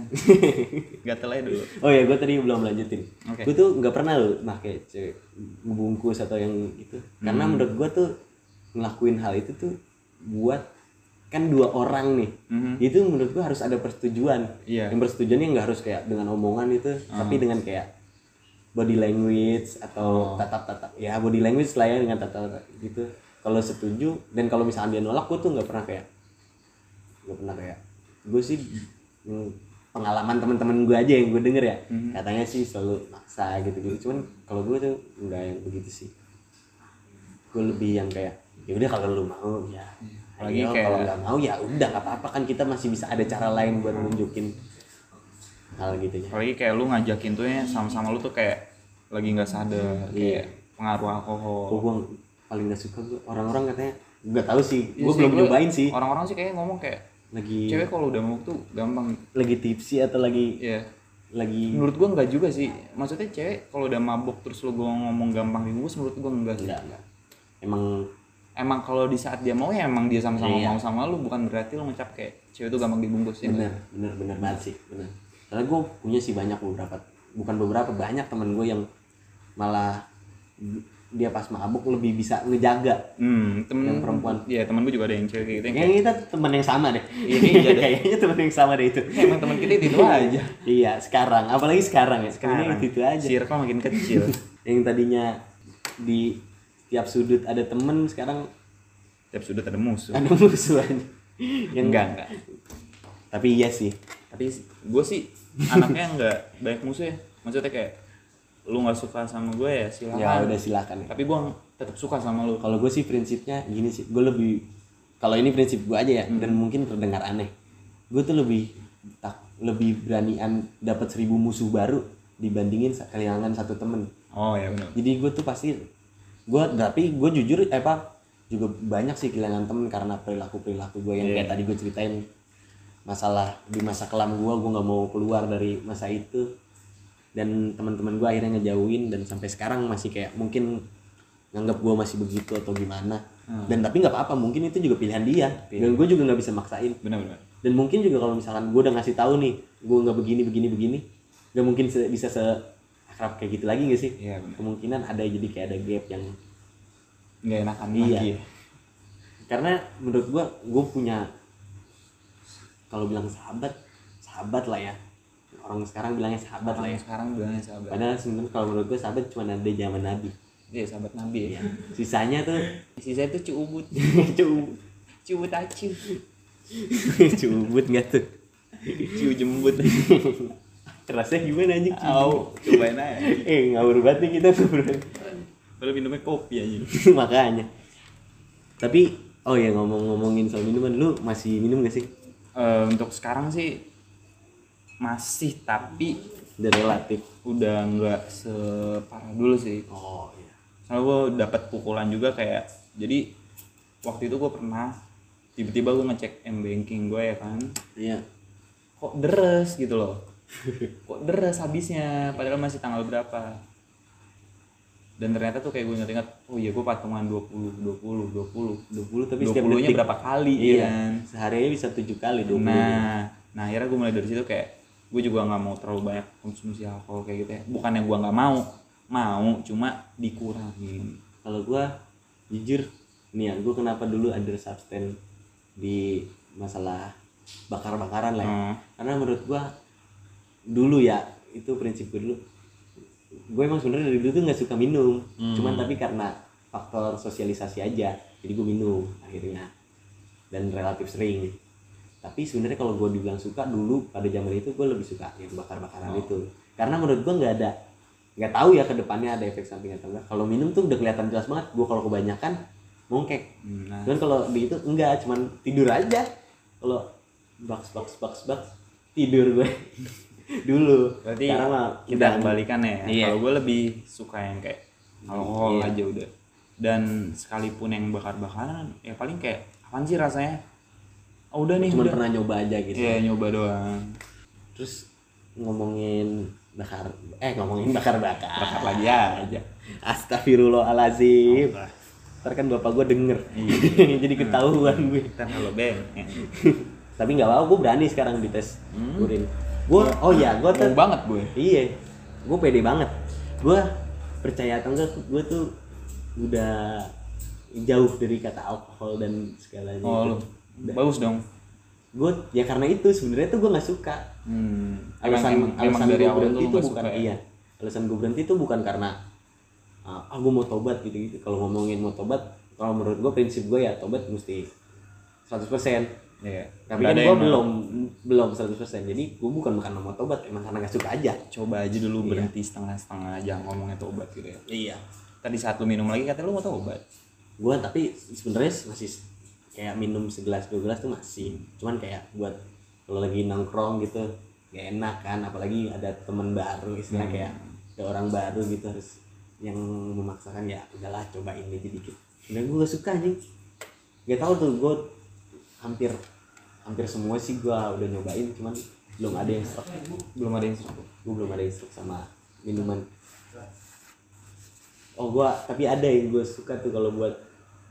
gatel aja dulu Oh ya, gue tadi belum lanjutin. Oke. Gue tuh nggak pernah loh pakai cewek bungkus atau yang gitu. Karena Hmm. menurut gue tuh ngelakuin hal itu tuh buat kan dua orang nih. Mhm. Itu menurut gue harus ada persetujuan. Iya. Hmm. Yang persetujuannya nggak harus kayak dengan omongan itu, tapi dengan kayak body language Oh. atau tatap-tatap. Ya body language lah ya dengan tatap-tatap gitu. Kalau setuju dan kalau misalnya dia nolak, gue tuh nggak pernah kayak gue pernah kayak gue sih hmm, pengalaman teman-teman gue aja yang gue denger ya Hmm. katanya sih selalu maksa gitu gitu cuman kalau gue tuh nggak yang begitu sih gue lebih yang kayak ya udah kalau lu mau ya Iya. Apalagi ayo, kayak- kalau nggak mau ya udah nggak apa-apa kan kita masih bisa ada cara lain buat nunjukin hal gitu ya apalagi kayak lu ngajakin tuh ya sama-sama lu tuh kayak lagi nggak sadar Iya. kayak pengaruh alkohol gue paling gak suka gue orang-orang katanya nggak tahu sih Iya gue sih, belum gua- nyobain sih orang-orang sih kayak ngomong kayak lagi cewek kalau udah mabuk tuh gampang lagi tipsy atau lagi ya lagi menurut gua nggak juga sih maksudnya cewek kalau udah mabuk terus lu gua ngomong gampang dibungkus menurut gua enggak sih enggak enggak emang emang kalau di saat dia mau ya emang dia sama-sama Iya. mau sama lu bukan berarti lu ngecap kayak cewek tuh gampang dibungkus ya bener bener bener banget sih bener karena gue punya sih banyak beberapa bukan beberapa banyak temen gue yang malah dia pas mabuk lebih bisa ngejaga hmm temen Yang perempuan. ya temen gua juga ada yang cewek kayak gitu yang kayak kayaknya kita temen yang sama deh Iya, iya, deh. kayaknya temen yang sama deh itu emang temen kita itu aja iya sekarang apalagi sekarang ya sekarang Sekarang. itu, itu aja circle makin kecil yang tadinya di tiap sudut ada temen sekarang tiap sudut ada musuh ada musuhan yang enggak enggak tapi iya sih tapi gue sih anaknya nggak banyak musuh ya maksudnya kayak lu nggak suka sama gue ya ya silakan udah silakan ya tapi gue tetap suka sama lu kalau gue sih prinsipnya gini sih gue lebih kalau ini prinsip gue aja ya dan mungkin terdengar aneh gue tuh lebih tak lebih beranian dapat seribu musuh baru dibandingin sa- kehilangan satu temen oh ya benar jadi gue tuh pasti gue tapi gue jujur eh apa juga banyak sih kehilangan temen karena perilaku perilaku gue yang kayak tadi gue ceritain masalah di masa kelam gue gue nggak mau keluar dari masa itu dan teman-teman gue akhirnya ngejauhin dan sampai sekarang masih kayak mungkin nganggap gue masih begitu atau gimana dan tapi nggak apa-apa mungkin itu juga pilihan dia dan gue juga nggak bisa maksain benar benar dan mungkin juga kalau misalkan gue udah ngasih tahu nih gue nggak begini begini begini nggak mungkin se- bisa se akrab kayak gitu lagi nggak sih Iya, benar. kemungkinan ada jadi kayak ada gap yang nggak enakan Iya. lagi ya. karena menurut gue gue punya kalau bilang sahabat sahabat lah ya orang sekarang bilangnya sahabat lah Orang ya sekarang bilangnya sahabat padahal sebenarnya kalau menurut gue sahabat cuma ada di zaman nabi iya sahabat nabi ya ya sisanya tuh sisa itu cuubut cu- cuubut acu cubut nggak tuh ciu jembut rasanya gimana anjing cu- au cobain aja eh ngawur banget nih kita tuh bro baru minumnya kopi aja makanya tapi oh ya ngomong-ngomongin soal minuman lu masih minum gak sih Eh, untuk sekarang sih masih tapi udah relatif udah nggak separah dulu sih oh iya soalnya gue dapat pukulan juga kayak jadi waktu itu gue pernah tiba-tiba gue ngecek m banking gue ya kan iya kok deres gitu loh kok deres habisnya padahal masih tanggal berapa dan ternyata tuh kayak gue ingat-ingat oh iya gue patungan 20 20 20 20 tapi setiap 20 nya detik- berapa kali iya iya kan seharinya bisa tujuh kali 20 nah nah akhirnya gue mulai dari situ kayak gue juga nggak mau terlalu banyak konsumsi alkohol kayak gitu ya bukannya gue nggak mau mau cuma dikurangin kalau gua jujur nih ya gua kenapa dulu ada substan di masalah bakar-bakaran lah ya. Hmm. karena menurut gua dulu ya itu prinsip gue dulu gue emang sebenarnya dari dulu tuh nggak suka minum cuman tapi karena faktor sosialisasi aja jadi gue minum akhirnya dan relatif sering tapi sebenarnya kalau gue dibilang suka dulu pada zaman itu gue lebih suka yang bakar-bakaran itu karena menurut gue nggak ada nggak tahu ya kedepannya ada efek samping atau enggak kalau minum tuh udah kelihatan jelas banget gue kalau kebanyakan mongkek Nah, cuman kalau di itu enggak cuman tidur aja kalau baks baks baks baks tidur gue dulu Berarti Sekarang mah kita udah- kembalikan ya. Iya. Kalau gue lebih suka yang kayak alkohol Iya. aja udah. Dan sekalipun yang bakar-bakaran, ya paling kayak apaan sih rasanya? Oh, udah Eh, nih, cuman udah. pernah nyoba aja gitu Iya, nyoba doang. terus ngomongin bakar eh ngomongin bakar Bakar bakar lagi aja. Astagfirullahalazim ntar kan bapak gue denger Iya. jadi ketahuan gue Kita kan kalau beng. Hmm. tapi nggak apa-apa gue berani sekarang dites urin gue oh ya gue tuh Mau banget gue. Iya, gue pede banget. Gue percaya atau enggak, gue tuh udah jauh dari kata alkohol dan segalanya. Oh, lu. Bagus dong. Gue ya karena itu sebenarnya tuh gue nggak suka. Hmm. Emang, Alasan emang, alasan emang dari gue awal berhenti tuh lu itu gak bukan suka ya? iya. Alasan gue berhenti itu bukan karena uh, ah gue mau tobat gitu gitu. Kalau ngomongin mau tobat, kalau menurut gue prinsip gue ya tobat mesti 100% Iya. tapi kan Nggak ada gue yang belum belum 100% jadi gue bukan bukan mau tobat emang karena nggak suka aja coba aja dulu berhenti setengah-setengah jangan ngomongnya tobat gitu ya. iya Tadi saat lu minum lagi katanya lu mau tobat. gue tapi sebenarnya masih kayak minum segelas dua gelas tuh masih cuman kayak buat kalau lagi nongkrong gitu gak enak kan apalagi ada teman baru istilah kayak ada orang baru gitu harus yang memaksakan ya udahlah cobain aja dikit dan gue gak suka anjing gak tau tuh gue hampir hampir semua sih gue udah nyobain cuman belum ada yang stuck Belum ada yang seru. gue belum ada yang stuck sama minuman oh gue tapi ada yang gue suka tuh kalau buat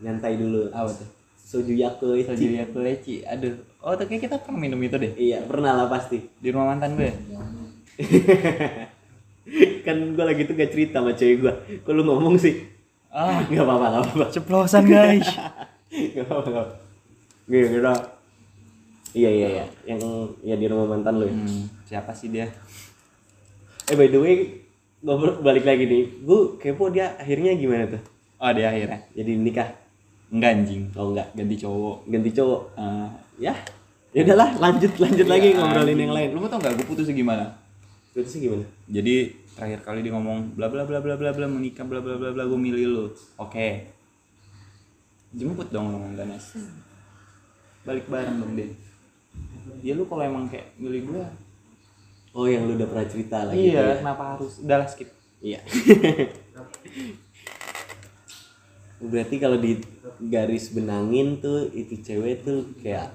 nyantai dulu Apa tuh? soju yakult Soju yakult ya, leci. Aduh. Oh, tuh kayak kita pernah minum itu deh iya pernah lah pasti di rumah mantan gue. kan gue lagi tuh gak cerita sama cewek gue kok lu ngomong sih Ah, nggak apa-apa nggak apa-apa ceplosan guys. nggak apa-apa nggak apa-apa. Gini, gini, dong. iya iya iya yang ya di rumah mantan lu ya hmm, siapa sih dia? eh by the way ngobrol balik lagi nih gue kepo dia akhirnya gimana tuh Oh, dia akhirnya. jadi nikah Enggak anjing. kalau nggak Ganti cowok. ganti cowok Ah. ya ya udahlah lanjut lanjut lagi Iya, ngobrolin yang lain ya, Lu mau tau gak gue putusnya gimana? putusnya gimana Jadi terakhir kali dia ngomong bla bla bla bla bla bla menikah bla bla bla bla gue milih lu. Oke. Jemput dong lu sama Ganes. Balik bareng dong dia. Ya lu kalau emang kayak milih gue. oh yang lu udah pernah cerita lagi Iya, kenapa harus? Udah lah skip. iya berarti kalau di garis benangin tuh itu cewek tuh kayak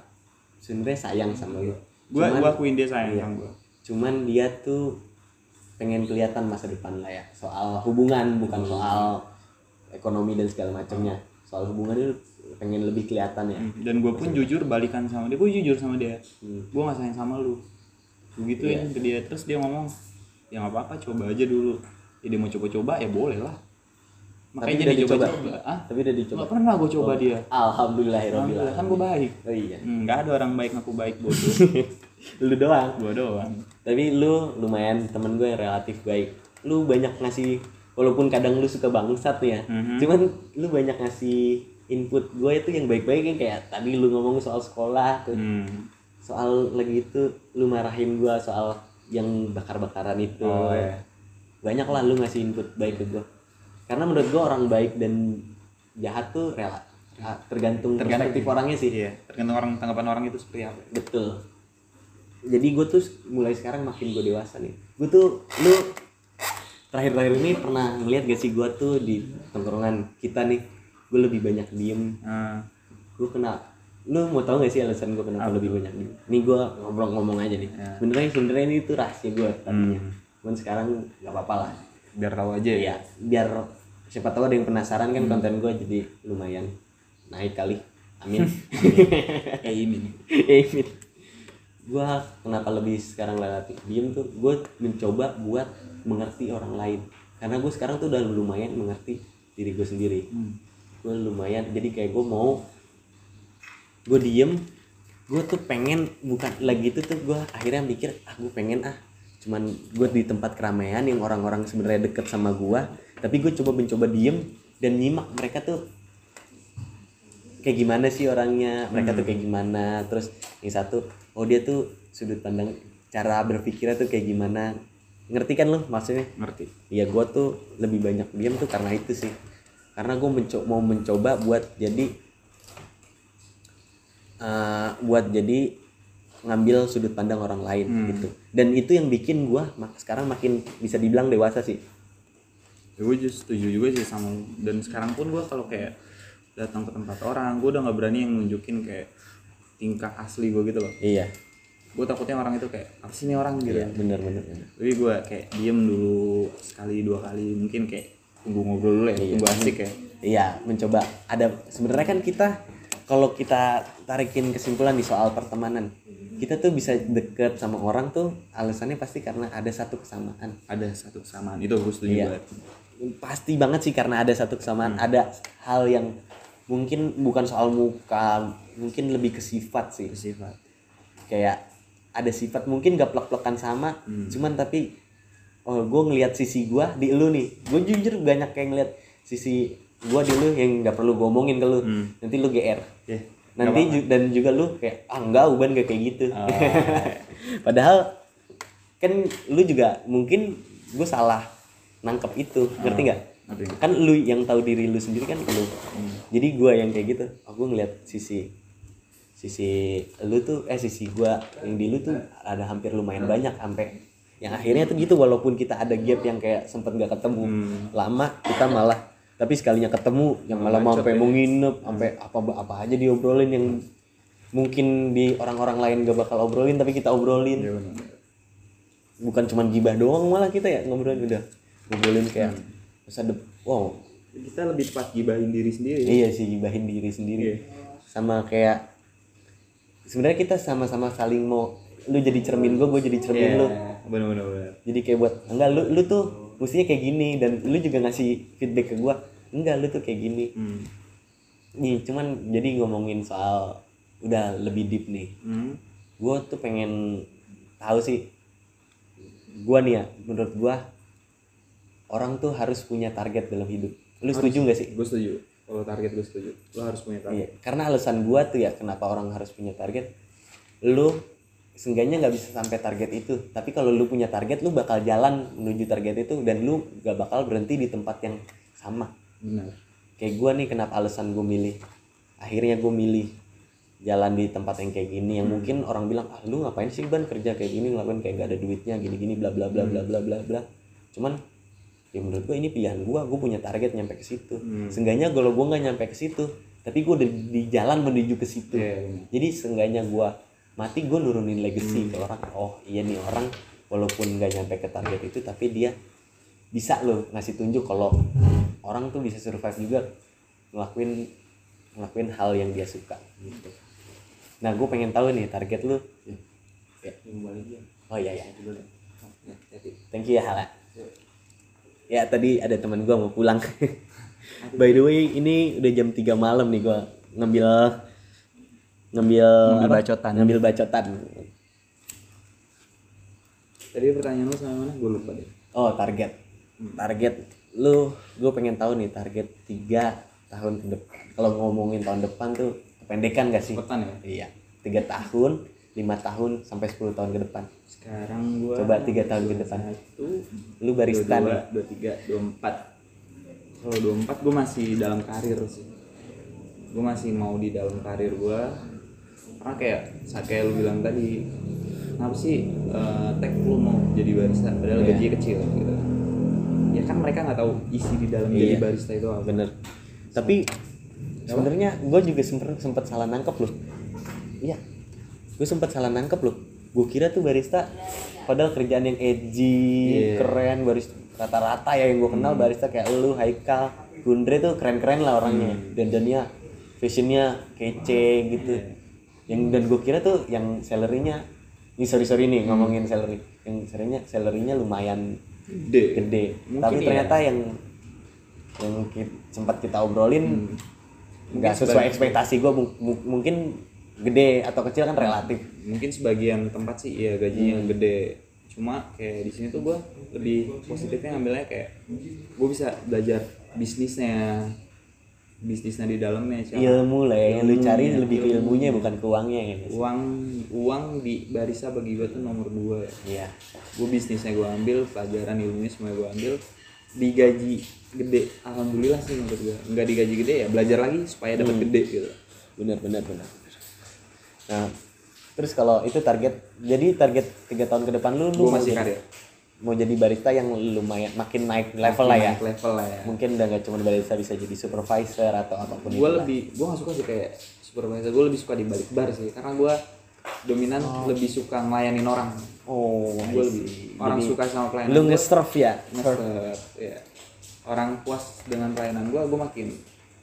sebenarnya sayang sama lu Gua Cuman- gua akuin dia sayang iya. sama gua. cuman dia tuh pengen kelihatan masa depan lah ya soal hubungan bukan soal ekonomi dan segala macamnya soal hubungan itu pengen lebih kelihatan ya Hmm, Dan gua pun jujur balikan sama dia. Gua jujur sama dia. Hmm. Gua nggak sayang sama lu. Begituin ke dia terus dia ngomong, "Ya nggak apa-apa, coba aja dulu." Ya, dia mau coba-coba ya boleh lah. Tapi Makanya udah jadi dicoba. coba-coba. Ah, tapi udah dicoba Gak pernah gue coba dia. alhamdulillah Alhamdulillah kan gue baik. oh iya Hmm, gak ada orang baik ngaku baik bodoh. lu doang gue doang. tapi lu lumayan temen gue yang relatif baik lu banyak ngasih walaupun kadang lu suka bangsat nih ya Mhm. cuman lu banyak ngasih input gue itu yang baik-baik yang kayak tadi lu ngomong soal sekolah tuh. Hmm. soal lagi itu lu marahin gue soal yang bakar-bakaran itu Oh, iya. banyak lah lu ngasih input baik ke gue karena menurut gue orang baik dan jahat tuh rela tergantung, perspektif orangnya sih Iya, tergantung orang tanggapan orang itu seperti apa. betul jadi gue tuh mulai sekarang makin gue dewasa nih gue tuh lu terakhir-terakhir ini pernah ngeliat gak sih gue tuh di tongkrongan kita nih gue lebih banyak diem Nah, gue kenal lu mau tau gak sih alasan gue kenapa lebih banyak diem nih gue ngobrol-ngomong aja nih Ya. sebenernya sebenernya ini tuh rahasia gue tadinya Hmm. cuman sekarang nggak apa-apa lah biar tahu aja ya ya. biar siapa tahu ada yang penasaran kan konten gue jadi lumayan naik kali amin. Kayak ini nih. Amin. Gua kenapa lebih sekarang relatif diem tuh? Gue mencoba buat mengerti orang lain. Karena gue sekarang tuh udah lumayan mengerti diri gue sendiri. Gue lumayan. Jadi kayak gue mau gue diem. Gue tuh pengen bukan lagi itu tuh gue akhirnya mikir ah gue pengen ah cuman gue di tempat keramaian yang orang-orang sebenarnya deket sama gue tapi gue coba mencoba diem dan nyimak mereka tuh kayak gimana sih orangnya mereka tuh kayak gimana terus yang satu oh dia tuh sudut pandang cara berpikirnya tuh kayak gimana ngerti kan lo maksudnya ngerti ya gue tuh lebih banyak diam tuh karena itu sih karena gue mau mencoba buat jadi eh, buat jadi ngambil sudut pandang orang lain gitu dan itu yang bikin gue sekarang makin bisa dibilang dewasa sih ya gue just setuju juga sih sama lu. dan sekarang pun gue kalau kayak datang ke tempat orang gue udah nggak berani yang nunjukin kayak tingkah asli gue gitu loh iya gue takutnya orang itu kayak apa sih nih orang gitu iya bener bener, bener. tapi gue kayak diem dulu sekali dua kali mungkin kayak tunggu ngobrol dulu ya tunggu asik ya Iya, mencoba. Ada sebenarnya kan kita kalau kita tarikin kesimpulan di soal pertemanan, kita tuh bisa deket sama orang tuh alasannya pasti karena ada satu kesamaan. ada satu kesamaan itu gue setuju Iya. banget Pasti banget sih karena ada satu kesamaan, ada hal yang mungkin bukan soal muka, mungkin lebih ke sifat sih. sifat Kayak ada sifat mungkin gak plek-plekan sama, cuman tapi oh gue ngelihat sisi gue di lu nih. Gue jujur banyak kayak ngelihat sisi gue di lu yang gak perlu gue omongin ke lu. Nanti lu GR ya nanti ju- dan juga lu kayak ah enggak uban gak kayak gitu padahal kan lu juga mungkin gue salah nangkep itu ngerti nggak ngerti. kan lu yang tahu diri lu sendiri kan lu jadi gue yang kayak gitu aku ngeliat sisi sisi lu tuh eh sisi gue yang di lu tuh ada hampir lumayan banyak sampai yang akhirnya tuh gitu walaupun kita ada gap yang kayak sempet nggak ketemu lama kita malah tapi sekalinya ketemu yang malah mau sampai mau nginep sampai apa apa aja diobrolin yang mungkin di orang-orang lain gak bakal obrolin tapi kita obrolin Iya benar. bukan cuman gibah doang malah kita ya ngobrolin udah ngobrolin kayak masa dep wow kita lebih tepat gibahin diri sendiri iya sih gibahin diri sendiri Iya. sama kayak sebenarnya kita sama-sama saling mau lu jadi cermin gue gue jadi cermin Iya. lu bener bener bener jadi kayak buat enggak lu lu tuh mestinya kayak gini dan lu juga ngasih feedback ke gue enggak lu tuh kayak gini hmm. nih cuman jadi ngomongin soal udah lebih deep nih Hmm. gue tuh pengen tahu sih gue nih ya menurut gue orang tuh harus punya target dalam hidup lu setuju gak sih gue setuju kalau target gue setuju lo harus punya target Iya, karena alasan gua tuh ya kenapa orang harus punya target. Lu seenggaknya nggak bisa sampai target itu, tapi kalau lu punya target lu bakal jalan menuju target itu dan lu gak bakal berhenti di tempat yang sama. benar Kayak gua nih kenapa alasan gue milih. Akhirnya gue milih jalan di tempat yang kayak gini yang Hmm. mungkin orang bilang ah lu ngapain sih ban kerja kayak gini ngelakuin kayak gak ada duitnya gini gini bla bla bla Hmm. bla bla bla bla cuman ya menurut gue ini pilihan gue gue punya target nyampe ke situ Hmm. seenggaknya kalau gue nggak nyampe ke situ tapi gue udah di jalan menuju ke situ Iya, benar. jadi seenggaknya gue mati gue nurunin Hmm. legacy ke orang oh iya nih orang walaupun nggak nyampe ke target itu tapi dia bisa loh ngasih tunjuk kalau orang tuh bisa survive juga ngelakuin ngelakuin hal yang dia suka gitu nah gue pengen tahu nih target lu Iya. ya yang balik ya oh iya ya dulu deh. Ya, jadi. thank you ya Hala ya tadi ada teman gue mau pulang by the way ini udah jam 3 malam nih gue ngambil ngambil Ngambil apa? bacotan. ngambil bacotan tadi pertanyaan lu sama mana gue lupa deh oh target target lu gue pengen tahu nih target 3 tahun ke depan kalau ngomongin tahun depan tuh kependekan gak sih cepetan ya iya tiga tahun lima tahun sampai 10 tahun ke depan sekarang gue coba tiga tahun ke depan satu lu barista dua, nih dua tiga dua empat kalau dua empat gue masih dalam karir sih gue masih mau di dalam karir gue karena kayak saat kayak lu bilang tadi kenapa sih eh, tek lu mau jadi barista padahal Iya. gajinya kecil gitu ya kan mereka nggak tahu isi di dalam jadi Iya. barista itu apa bener tapi sebenarnya gue juga sempat sempat salah nangkep loh iya gue sempat salah nangkep loh gue kira tuh barista padahal kerjaan yang edgy Iya. keren barista rata-rata ya yang gue kenal barista kayak lu Haikal Gundre tuh keren-keren lah orangnya dandannya fashionnya kece gitu yang dan gue kira tuh yang salarynya ini sorry sorry nih ngomongin salary yang salarynya salarynya lumayan gede gede Mungkin tapi iya. ternyata yang yang ki- sempat kita obrolin nggak sesuai ekspektasi gue mungkin gede atau kecil kan relatif mungkin sebagian tempat sih iya gajinya Hmm. gede cuma kayak di sini tuh gue lebih positifnya ngambilnya kayak gue bisa belajar bisnisnya bisnisnya di dalamnya siapa ilmu lah ya, yang lu cari lebih ke ilmunya bukan ke uangnya ya guys uang uang di barisa bagi gue tuh nomor dua ya iya gue bisnisnya gue ambil pelajaran ilmunya semua gue ambil digaji gede alhamdulillah sih menurut gue nggak digaji gede ya belajar lagi supaya dapat Hmm. gede gitu benar benar benar benar. nah terus kalau itu target jadi target tiga tahun ke depan lu lu gue mau masih jadi- karir mau jadi barista yang lumayan makin naik level lah ya naik level lah ya mungkin udah gak cuma barista bisa jadi supervisor atau apapun itu gue lebih gue nggak suka sih kayak supervisor gue lebih suka di balik bar sih karena gue dominan lebih suka ngelayanin orang oh I gue see. lebih orang Jadi, suka sama pelayanan lu nge-serve ya Ngeset, ya. orang puas dengan pelayanan gue gue makin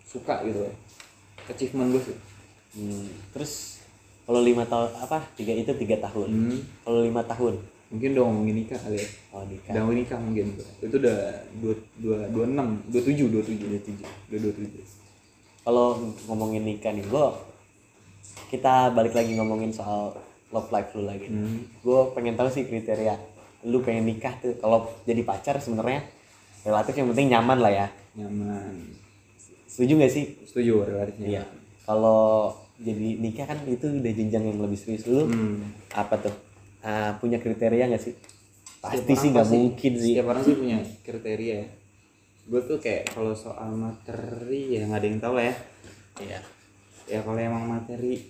suka gitu loh achievement gue sih Hmm, terus kalau lima tahun apa tiga itu tiga tahun Hmm, kalau lima tahun mungkin udah ngomongin nikah kali ya oh nikah udah mau nikah mungkin gua. itu udah dua dua dua enam dua tujuh dua tujuh dua tujuh udah dua tujuh kalau ngomongin nikah nih gue kita balik lagi ngomongin soal love life lu lagi gue pengen tahu sih kriteria lu pengen nikah tuh kalau jadi pacar sebenarnya relatif yang penting nyaman lah ya nyaman setuju gak sih setuju relatifnya Iya. Kalau jadi nikah kan itu udah jenjang yang lebih serius lu. Hmm. Apa tuh? Ah, punya kriteria nggak sih? Pasti sih nggak mungkin sih. setiap orang sih punya kriteria ya gue tuh kayak kalau soal materi ya nggak ada yang tahu lah ya Iya. ya kalau emang materi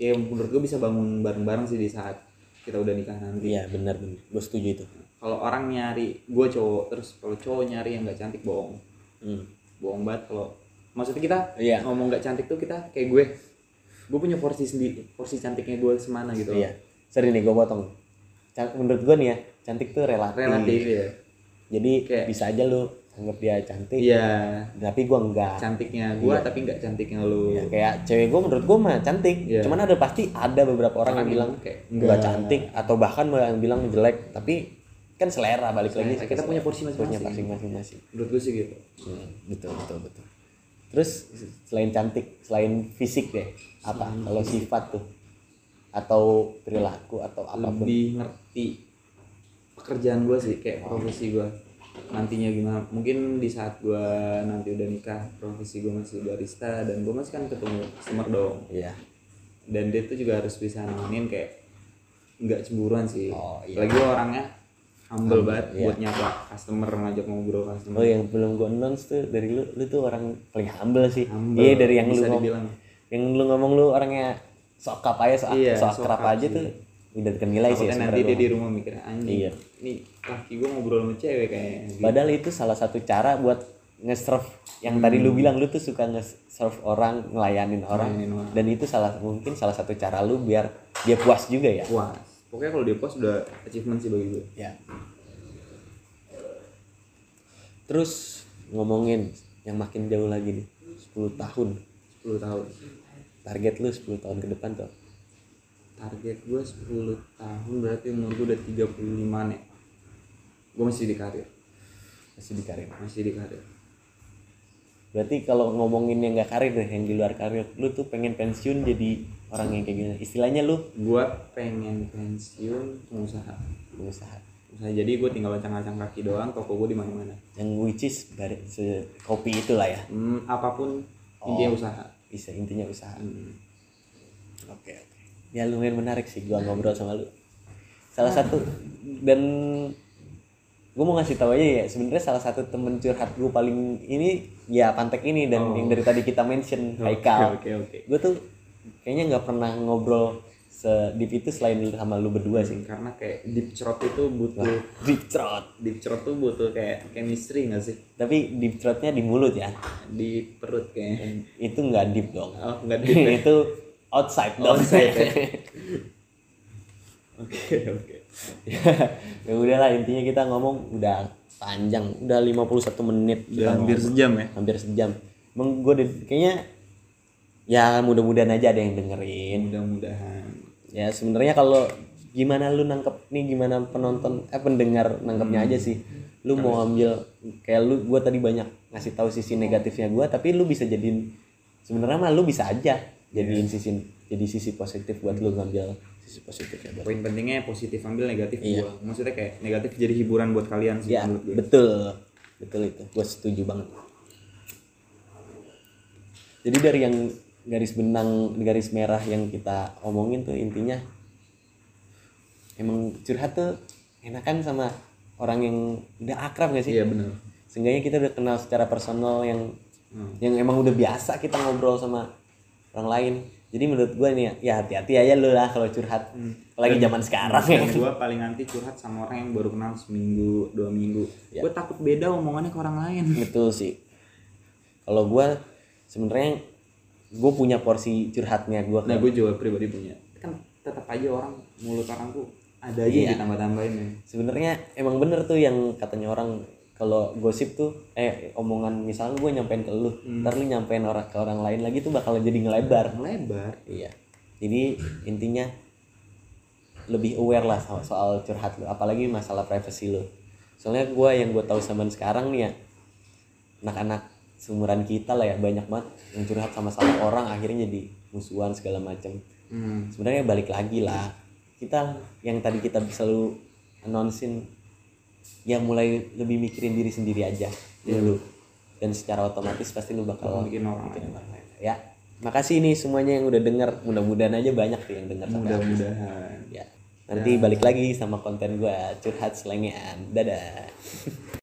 ya menurut gue bisa bangun bareng-bareng sih di saat kita udah nikah nanti Iya benar benar. Gue setuju itu. kalau orang nyari gue cowok terus kalau cowok nyari yang nggak cantik bohong Hmm. bohong banget kalau maksudnya kita Iya. ngomong nggak cantik tuh kita kayak gue gue punya porsi sendiri porsi cantiknya gue semana gitu loh. Iya. Sorry nih gue potong. Can- menurut gue nih ya, cantik tuh relatif. relatif ya Jadi Kayak- bisa aja lu anggap dia cantik, iya tapi gue enggak. cantiknya Iya. gue tapi nggak cantiknya lu Ya, kayak cewek gue menurut gue mah cantik, Iya. cuman ada pasti ada beberapa orang yang Orang bilang kayak nggak nggak. cantik atau bahkan yang bilang jelek, tapi kan selera balik lagi. Selera. Kita punya porsi Punya masing-masing. porsi masing-masing. menurut gue sih gitu Hmm, betul betul betul. Terus selain cantik, selain fisik deh, apa kalau sifat tuh atau perilaku atau apapun. lebih ngerti pekerjaan gue sih kayak profesi gue nantinya gimana mungkin di saat gue nanti udah nikah profesi gue masih barista dan gue masih kan ketemu customer dong Iya. dan dia tuh juga harus bisa nemenin kayak nggak cemburuan sih Oh, iya. lagi gua orangnya humble banget iya. buat nyapa customer ngajak ngobrol customer Oh yang belum gue announce tuh dari lu, lu tuh orang paling humble sih. Humble, Iya dari yang lu bisa ngomong. dibilang. Yang lu ngomong lu orangnya sok kap aja, sok, Iya, sok sok akrab akrab aja sih. tuh udah ternilai sih Takutnya nanti sebenarnya. dia di rumah mikir anjing Iya. nih laki gua ngobrol sama cewek kayaknya Gitu. Padahal itu salah satu cara buat nge-serve yang tadi lu bilang lu tuh suka nge-serve orang, ngelayanin orang Hmm. Ngelayanin orang. dan itu salah mungkin salah satu cara lu biar dia puas juga ya. puas pokoknya kalau dia puas udah achievement sih bagi gue Ya. Terus ngomongin yang makin jauh lagi nih, 10 tahun. 10 tahun Target lu 10 tahun ke depan tuh. target gue 10 tahun berarti umur gue udah 35 nih gue masih di karir Masih di karir. masih di karir Berarti kalau ngomongin yang gak karir deh, yang di luar karir, lu tuh pengen pensiun jadi orang yang kayak gimana? Istilahnya lu gue pengen pensiun pengusaha pengusaha. Usaha jadi gue tinggal acang-acang kaki doang, toko gue di mana-mana. yang which is bar- se- kopi itulah ya Hmm, apapun intinya usaha. bisa intinya usaha oke Hmm. oke ya lumayan menarik sih gua ngobrol sama lu salah satu dan gua mau ngasih tahu aja ya sebenarnya salah satu temen curhat gua paling ini ya pantek ini dan yang dari tadi kita mention Haikal Oh. Oke, oke. gua tuh kayaknya nggak pernah ngobrol sedip itu selain sama lu berdua sih Karena kayak deep throat itu butuh deep throat deep throat tuh butuh kayak chemistry nggak sih tapi deep throatnya di mulut ya di perut kayaknya. itu nggak deep dong Oh, enggak deep. itu outside dong Outside, ya. Oke, oke. ya udahlah intinya kita ngomong udah panjang udah 51 menit Udah kita hampir sejam ya. ngomong, hampir sejam emang gue kayaknya ya mudah-mudahan aja ada yang dengerin Mudah-mudahan ya sebenarnya kalau gimana lu nangkep nih gimana penonton eh pendengar nangkepnya Hmm. aja sih lu mau ambil kayak lu gue tadi banyak ngasih tahu sisi negatifnya gue tapi lu bisa jadiin sebenarnya mah lu bisa aja Iya. jadiin sisi jadi sisi positif buat lu ngambil sisi positifnya buat poin pentingnya positif ambil negatif Iya. buang. Maksudnya kayak negatif jadi hiburan buat kalian sih Ya, menurut gue. betul. Betul itu. Gue setuju banget. Jadi dari yang garis benang garis merah yang kita omongin tuh intinya emang curhat tuh enakan sama orang yang udah akrab gak sih? Iya benar. Seenggaknya kita udah kenal secara personal yang yang emang udah biasa kita ngobrol sama orang lain. Jadi menurut gua nih ya hati-hati aja lu lah kalau curhat. Apalagi zaman sekarang ya. Dan gue paling anti curhat sama orang yang baru kenal seminggu dua minggu. Iya. Gue takut beda omongannya ke orang lain. Betul sih. Kalau gua sebenarnya gue punya porsi curhatnya gua Nah kan. gue juga pribadi punya. Kan tetap aja orang mulut orang tuh ada aja Iya. yang ditambah-tambahin ya. sebenarnya emang bener tuh yang katanya orang kalau gosip tuh eh omongan misalnya gue nyampein ke lu ntar lu nyampein orang ke orang lain lagi tuh bakal jadi ngelebar Melebar. iya jadi intinya lebih aware lah so- soal curhat lu apalagi masalah privacy lu soalnya gue yang gue tahu zaman sekarang nih ya anak-anak seumuran kita lah ya banyak banget yang curhat sama salah orang akhirnya jadi musuhan segala macem Hmm. sebenarnya balik lagi lah kita yang tadi kita selalu announcein ya mulai lebih mikirin diri sendiri aja dulu dan secara otomatis pasti lu bakal Bikin orang lain. mikirin orang lain. ya makasih nih semuanya yang udah denger mudah-mudahan aja banyak tuh yang denger sampai Mudah-mudahan. ya nanti balik lagi sama konten gua curhat selengean dadah